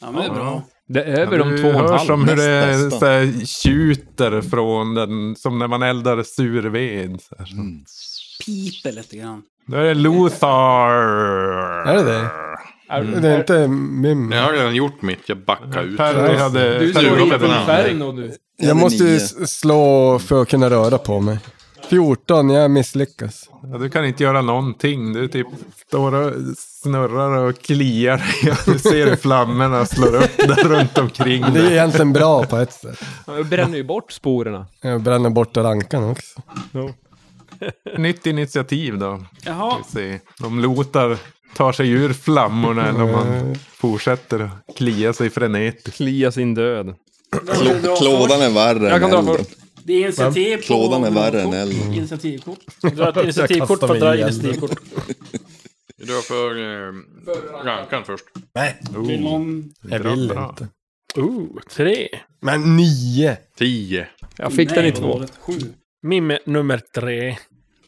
[SPEAKER 3] Ja, men det är bra.
[SPEAKER 5] Det är över
[SPEAKER 4] Ja,
[SPEAKER 5] de
[SPEAKER 4] du
[SPEAKER 5] två och en
[SPEAKER 4] hör
[SPEAKER 5] halv.
[SPEAKER 4] som hur det
[SPEAKER 5] Nästan.
[SPEAKER 4] så här, tjuter från den, som när man eldar sur ved. Så här.
[SPEAKER 3] Piper lite grann.
[SPEAKER 4] Då är det Lothar.
[SPEAKER 2] Är det det?
[SPEAKER 5] Mm.
[SPEAKER 2] Det är inte Mim.
[SPEAKER 10] Jag har redan gjort mitt, jag backar ut.
[SPEAKER 2] Perry hade- Du slår
[SPEAKER 10] Perry
[SPEAKER 2] i
[SPEAKER 10] hade-
[SPEAKER 2] Inferno
[SPEAKER 5] nu.
[SPEAKER 2] Jag måste ju s- slå för att kunna röra på mig. 14, jag misslyckas.
[SPEAKER 4] Ja, du kan inte göra någonting. Du typ står och snurrar och kliar. Ja, Du ser hur flammorna slår upp där runt omkring.
[SPEAKER 2] Det är
[SPEAKER 4] dig.
[SPEAKER 2] egentligen bra på ett sätt.
[SPEAKER 5] Du bränner ju bort sporerna.
[SPEAKER 2] Jag bränner bort rankan också.
[SPEAKER 4] Nytt initiativ då.
[SPEAKER 3] Jaha.
[SPEAKER 4] Vi ser om Lothar tar sig ur flammorna eller om
[SPEAKER 2] Mm.
[SPEAKER 4] han fortsätter att klia sig frenetiskt.
[SPEAKER 5] Klia sin död.
[SPEAKER 9] Klådan är värre
[SPEAKER 5] Jag kan dra
[SPEAKER 9] än elden.
[SPEAKER 5] först.
[SPEAKER 3] Det är initiativ på...
[SPEAKER 9] Klådan är värre än elden.
[SPEAKER 3] Initiativkort.
[SPEAKER 10] Dra ett initiativkort för att dra initiativkort. Du drar för eh, rankan först.
[SPEAKER 2] Nej.
[SPEAKER 3] Vill någon-
[SPEAKER 2] Jag vill
[SPEAKER 10] Bra.
[SPEAKER 2] inte.
[SPEAKER 7] Ooh, tre.
[SPEAKER 2] Men nio.
[SPEAKER 10] Tio.
[SPEAKER 5] Jag fick den i två.
[SPEAKER 3] Sju.
[SPEAKER 7] Mim nummer tre.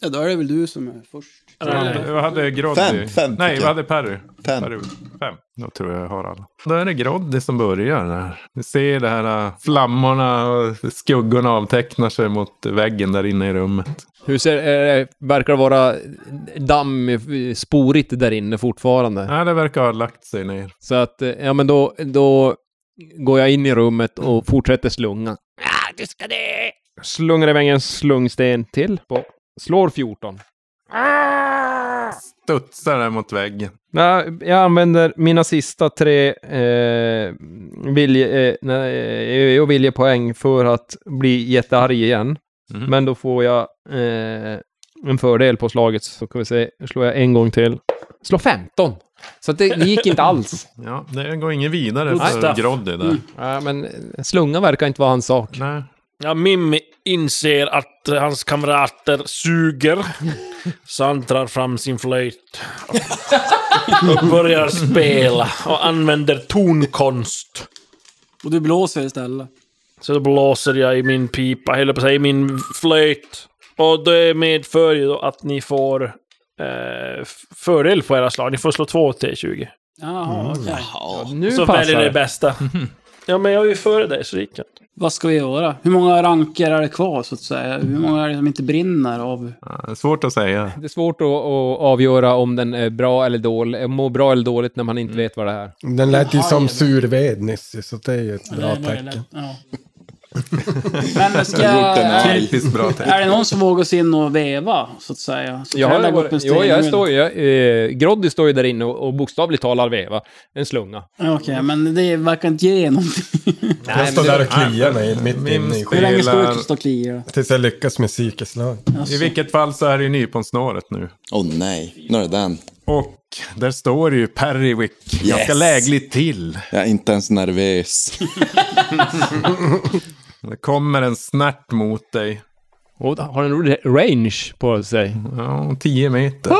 [SPEAKER 3] Ja, då är det väl du som är först.
[SPEAKER 4] Nej, Eh, vad hade Groddy?
[SPEAKER 3] Fem, fem
[SPEAKER 4] Nej,
[SPEAKER 3] tycker
[SPEAKER 4] vad
[SPEAKER 3] jag.
[SPEAKER 4] hade Perry?
[SPEAKER 9] Fem.
[SPEAKER 4] Perry. Fem. Då tror jag jag har alla. Då är det Groddy som börjar där. Ni ser det här äh, flammorna och skuggorna avtecknar sig mot väggen där inne i rummet.
[SPEAKER 5] Hur ser, eh, verkar det vara damm, eh, sporigt där inne fortfarande?
[SPEAKER 4] Nej, det verkar ha lagt sig ner.
[SPEAKER 5] Så att, eh, ja men då, då går jag in i rummet och fortsätter slunga.
[SPEAKER 8] Ah, du ska det!
[SPEAKER 5] Slungar iväg en slungsten till. På, slår 14.
[SPEAKER 4] Studsar där mot väggen.
[SPEAKER 5] Nej, jag använder mina sista tre eh, vilje, eh, nej, och viljepoäng för att bli jättearg igen.
[SPEAKER 4] Mhm.
[SPEAKER 5] Men då får jag eh, en fördel på slaget, så kan vi se. slår jag en gång till. Slå 15! Så att det, det gick inte alls.
[SPEAKER 4] Ja, det går ingen vidare
[SPEAKER 5] Good
[SPEAKER 4] för
[SPEAKER 5] stuff.
[SPEAKER 4] Groddy där.
[SPEAKER 5] Mm. Ja, men slunga verkar inte vara hans sak.
[SPEAKER 4] Nej.
[SPEAKER 7] Ja, Mim inser att eh, hans kamrater suger. Så han drar fram sin flöjt. Och börjar spela. Och använder tonkonst.
[SPEAKER 3] Och du blåser istället?
[SPEAKER 7] Så då blåser jag i min pipa, höll jag på att säga, i min flöjt. Och det medför ju då att ni får eh, f- fördel på era slag. Ni får slå två T20.
[SPEAKER 3] Jaha, okej.
[SPEAKER 5] Nu
[SPEAKER 7] så väljer ni det bästa. Ja, men jag är ju före dig, så det gick inte.
[SPEAKER 3] Vad ska vi göra? Hur många ranker är det kvar, så att säga? Hur många är det som inte brinner av...
[SPEAKER 4] Ja, Svårt att säga.
[SPEAKER 5] Det är svårt att, att avgöra om den är bra eller dålig, eh, mår bra eller dåligt när man inte vet vad det är.
[SPEAKER 2] Den lät ju som surved nyss, så det är ju ett bra tecken.
[SPEAKER 3] Men ska...
[SPEAKER 2] Jag har gjort den här.
[SPEAKER 3] är-
[SPEAKER 2] Typiskt bra text.
[SPEAKER 3] Är det någon som vågar sig in och veva, så att säga? Så
[SPEAKER 5] Jag,
[SPEAKER 3] kan
[SPEAKER 5] har
[SPEAKER 3] lägga upp
[SPEAKER 5] varit,
[SPEAKER 3] en
[SPEAKER 5] jo,
[SPEAKER 3] sten
[SPEAKER 5] jag
[SPEAKER 3] nu.
[SPEAKER 5] står ju, jag, eh, Groddy står ju där inne och, och bokstavligt talar veva. En slunga.
[SPEAKER 3] Okej, men det verkar inte ge någonting.
[SPEAKER 2] Jag står där och kliar mig mitt inne i
[SPEAKER 3] Hur länge ska du
[SPEAKER 4] spelar-
[SPEAKER 3] inte stå och klia?
[SPEAKER 2] Tills jag lyckas med psykeslag.
[SPEAKER 4] I vilket fall så är det ju nyponsnåret nu.
[SPEAKER 9] Åh oh, nej, nu är det den.
[SPEAKER 4] Och där står ju Perrywick ganska lägligt till.
[SPEAKER 9] Jag är inte ens nervös.
[SPEAKER 4] Det kommer en snärt mot dig.
[SPEAKER 5] Och har en re- range på sig?
[SPEAKER 4] Ja, 10 meter.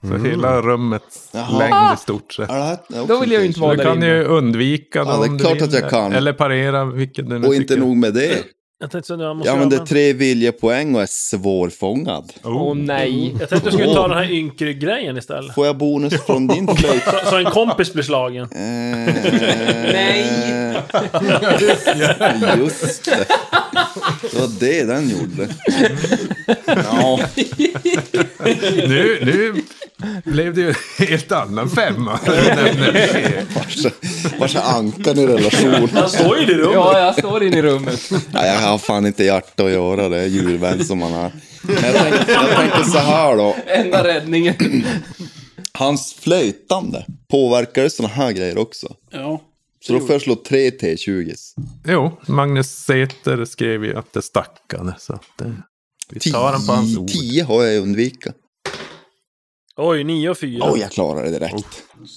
[SPEAKER 4] Så
[SPEAKER 5] Mm.
[SPEAKER 4] hela rummet
[SPEAKER 5] Jaha.
[SPEAKER 4] längd i stort sett.
[SPEAKER 5] Ja, det här är också Då vill jag ju inte vara
[SPEAKER 4] Du
[SPEAKER 5] där
[SPEAKER 4] kan
[SPEAKER 5] inne.
[SPEAKER 4] ju undvika
[SPEAKER 9] Ja, det är
[SPEAKER 4] om du
[SPEAKER 9] klart
[SPEAKER 4] vill
[SPEAKER 9] att jag
[SPEAKER 4] det.
[SPEAKER 9] kan.
[SPEAKER 4] Eller parera, vilket du nu
[SPEAKER 9] Och inte
[SPEAKER 4] tycker.
[SPEAKER 9] nog med det.
[SPEAKER 7] Jag tänkte så nu, jag måste
[SPEAKER 9] Jag
[SPEAKER 7] göra
[SPEAKER 9] använder
[SPEAKER 7] den.
[SPEAKER 9] tre viljepoäng och är svårfångad.
[SPEAKER 7] Åh
[SPEAKER 5] nej.
[SPEAKER 7] Jag tänkte jag skulle ta den här ynkry-grejen istället.
[SPEAKER 9] Får jag bonus från din flöjt?
[SPEAKER 7] Så, så en kompis blir slagen.
[SPEAKER 9] Nej! Just Eh, det. Det var det den gjorde. Ja.
[SPEAKER 4] nu, nu blev det ju en helt annan femma. eh, Nej,
[SPEAKER 9] Vars är ankan i relation?
[SPEAKER 6] Han står ju i det rummet.
[SPEAKER 5] Ja, jag står inne i rummet.
[SPEAKER 9] Nej, jag har fan inte hjärta att göra det, djurvän som man är. Men jag tänkte, jag tänkte så här då.
[SPEAKER 5] Enda räddningen.
[SPEAKER 9] Hans flöjtande, påverkar det sådana här grejer också?
[SPEAKER 3] Ja.
[SPEAKER 9] Så då får jag slå tre T20s.
[SPEAKER 4] Jo, Magnus Säter skrev ju att det stackade. Så att det, vi tar den på hans ord.
[SPEAKER 9] 10 har jag undvika.
[SPEAKER 7] Oj, 9 och 4.
[SPEAKER 9] Oj, jag klarade det direkt.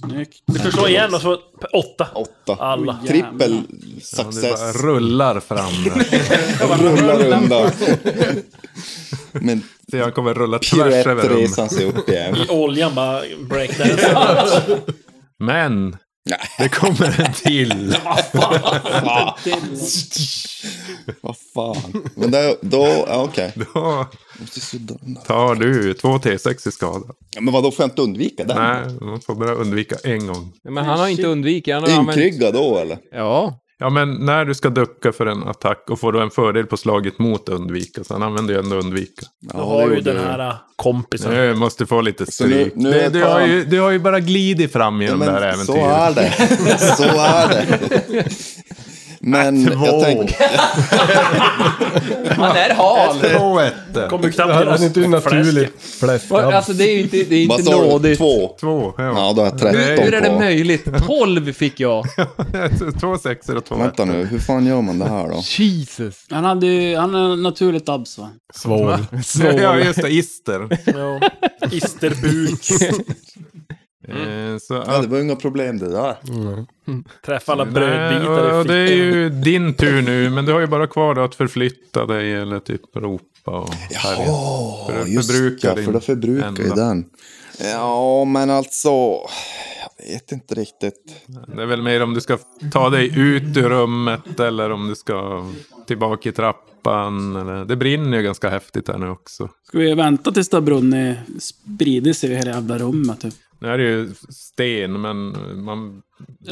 [SPEAKER 3] Snyggt.
[SPEAKER 7] Du får slå igen och så åtta.
[SPEAKER 9] Åtta.
[SPEAKER 7] Alla.
[SPEAKER 9] Trippel
[SPEAKER 4] Det
[SPEAKER 9] success.
[SPEAKER 4] bara rullar fram.
[SPEAKER 9] Rullar undan. Men
[SPEAKER 4] Så jag kommer rulla tvärs över
[SPEAKER 9] piruettresan sig
[SPEAKER 4] rummet.
[SPEAKER 9] upp igen.
[SPEAKER 7] I oljan bara breakdance.
[SPEAKER 4] Men det kommer en till.
[SPEAKER 9] Vad fan. Men där, då, ja, okej.
[SPEAKER 4] Då
[SPEAKER 9] Måste sudda den.
[SPEAKER 4] tar du två T6 i skada.
[SPEAKER 9] Ja, men vadå, får jag inte undvika den?
[SPEAKER 4] Nej, man får bara undvika en gång.
[SPEAKER 5] Men han har inte undvikit. Han har använt...
[SPEAKER 9] Inkrygga då eller?
[SPEAKER 5] Ja.
[SPEAKER 4] Ja, men när du ska ducka för en attack och får du en fördel på slaget mot undvika, så han använder ju ändå undvika.
[SPEAKER 7] Då har du den här äh, kompisen.
[SPEAKER 4] Nu måste du få lite
[SPEAKER 7] nu-
[SPEAKER 4] stryk.
[SPEAKER 7] nu
[SPEAKER 4] du,
[SPEAKER 7] är
[SPEAKER 4] du,
[SPEAKER 7] fan-
[SPEAKER 4] har ju, du har ju bara glidit fram genom
[SPEAKER 9] Ja,
[SPEAKER 4] det
[SPEAKER 9] men
[SPEAKER 4] här
[SPEAKER 9] så
[SPEAKER 4] äventyret.
[SPEAKER 9] är det. Så är det. Men jag tänker...
[SPEAKER 5] Han är hal.
[SPEAKER 4] Två ettor.
[SPEAKER 7] Kommer
[SPEAKER 2] knappt Det hade göra inte naturligt fläsk.
[SPEAKER 5] Vad- Alltså det är ju inte, det är
[SPEAKER 9] Vad
[SPEAKER 5] inte
[SPEAKER 9] sa du?
[SPEAKER 5] nådigt.
[SPEAKER 9] Två?
[SPEAKER 4] Två, ja.
[SPEAKER 9] Ja, då har jag
[SPEAKER 5] Hur,
[SPEAKER 9] 13
[SPEAKER 5] hur är det
[SPEAKER 9] på.
[SPEAKER 5] möjligt? 12 fick jag.
[SPEAKER 4] två sexor och två
[SPEAKER 9] Vänta nu, hur fan gör man det här då?
[SPEAKER 5] Jesus.
[SPEAKER 3] Han hade ju, han är naturligt abs va?
[SPEAKER 4] Va?
[SPEAKER 9] Svål.
[SPEAKER 4] Ja, just det. Ister.
[SPEAKER 7] Ja. Isterbuk.
[SPEAKER 9] Mm.
[SPEAKER 4] Eh, Så
[SPEAKER 9] Ja, det var inga problem det där.
[SPEAKER 7] Träffa alla
[SPEAKER 4] Nej,
[SPEAKER 7] brödbitar
[SPEAKER 4] och
[SPEAKER 7] i
[SPEAKER 4] det är
[SPEAKER 7] fickan.
[SPEAKER 4] ju din tur nu, men du har ju bara kvar då att förflytta dig eller typ ropa och härja. För
[SPEAKER 9] Ja,
[SPEAKER 4] du
[SPEAKER 9] just
[SPEAKER 4] förbrukar
[SPEAKER 9] ja,
[SPEAKER 4] din
[SPEAKER 9] för då förbrukar ju
[SPEAKER 4] enda.
[SPEAKER 9] den. Ja, men alltså... Jag vet inte riktigt.
[SPEAKER 4] Det är väl mer om du ska ta dig ut ur rummet eller om du ska tillbaka i trappan. Eller... Det brinner ju ganska häftigt här nu också.
[SPEAKER 3] Ska vi vänta tills det har brunnit, spridit sig i hela jävla rummet typ?
[SPEAKER 4] Nu är det ju sten, men man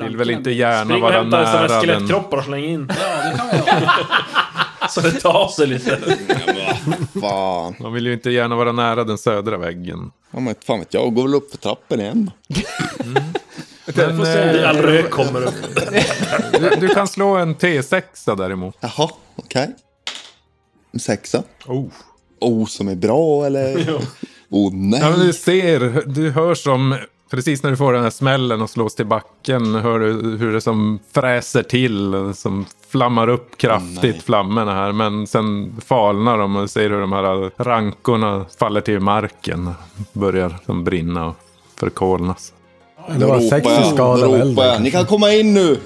[SPEAKER 4] vill väl
[SPEAKER 3] Ranken.
[SPEAKER 4] inte gärna
[SPEAKER 7] Spring och
[SPEAKER 4] vara
[SPEAKER 7] hämta sådana
[SPEAKER 4] nära den.
[SPEAKER 7] skelettkroppar och släng in. Så det tar sig lite.
[SPEAKER 9] Fan.
[SPEAKER 4] Man vill ju inte gärna vara nära den södra väggen.
[SPEAKER 9] Ja, men fan vet jag. Går väl upp för trappen igen då.
[SPEAKER 4] Men,
[SPEAKER 7] Får se.
[SPEAKER 4] eh,
[SPEAKER 7] All rök kommer upp.
[SPEAKER 4] Du, du kan slå en T6 däremot.
[SPEAKER 9] Jaha, okej. En sexa.
[SPEAKER 4] Oh.
[SPEAKER 9] Oh, som är bra eller? oh, nej.
[SPEAKER 4] Ja, men du ser, du hör som, precis när du får den här smällen och slås till backen, hör du hur det som fräser till, som flammar upp kraftigt, flammorna här. Men sen falnar de och du ser hur de här rankorna faller till marken, börjar som brinna och förkolnas.
[SPEAKER 2] Det var sex i skada
[SPEAKER 9] då
[SPEAKER 2] av elden.
[SPEAKER 9] ropar jag. Ni kan komma in nu!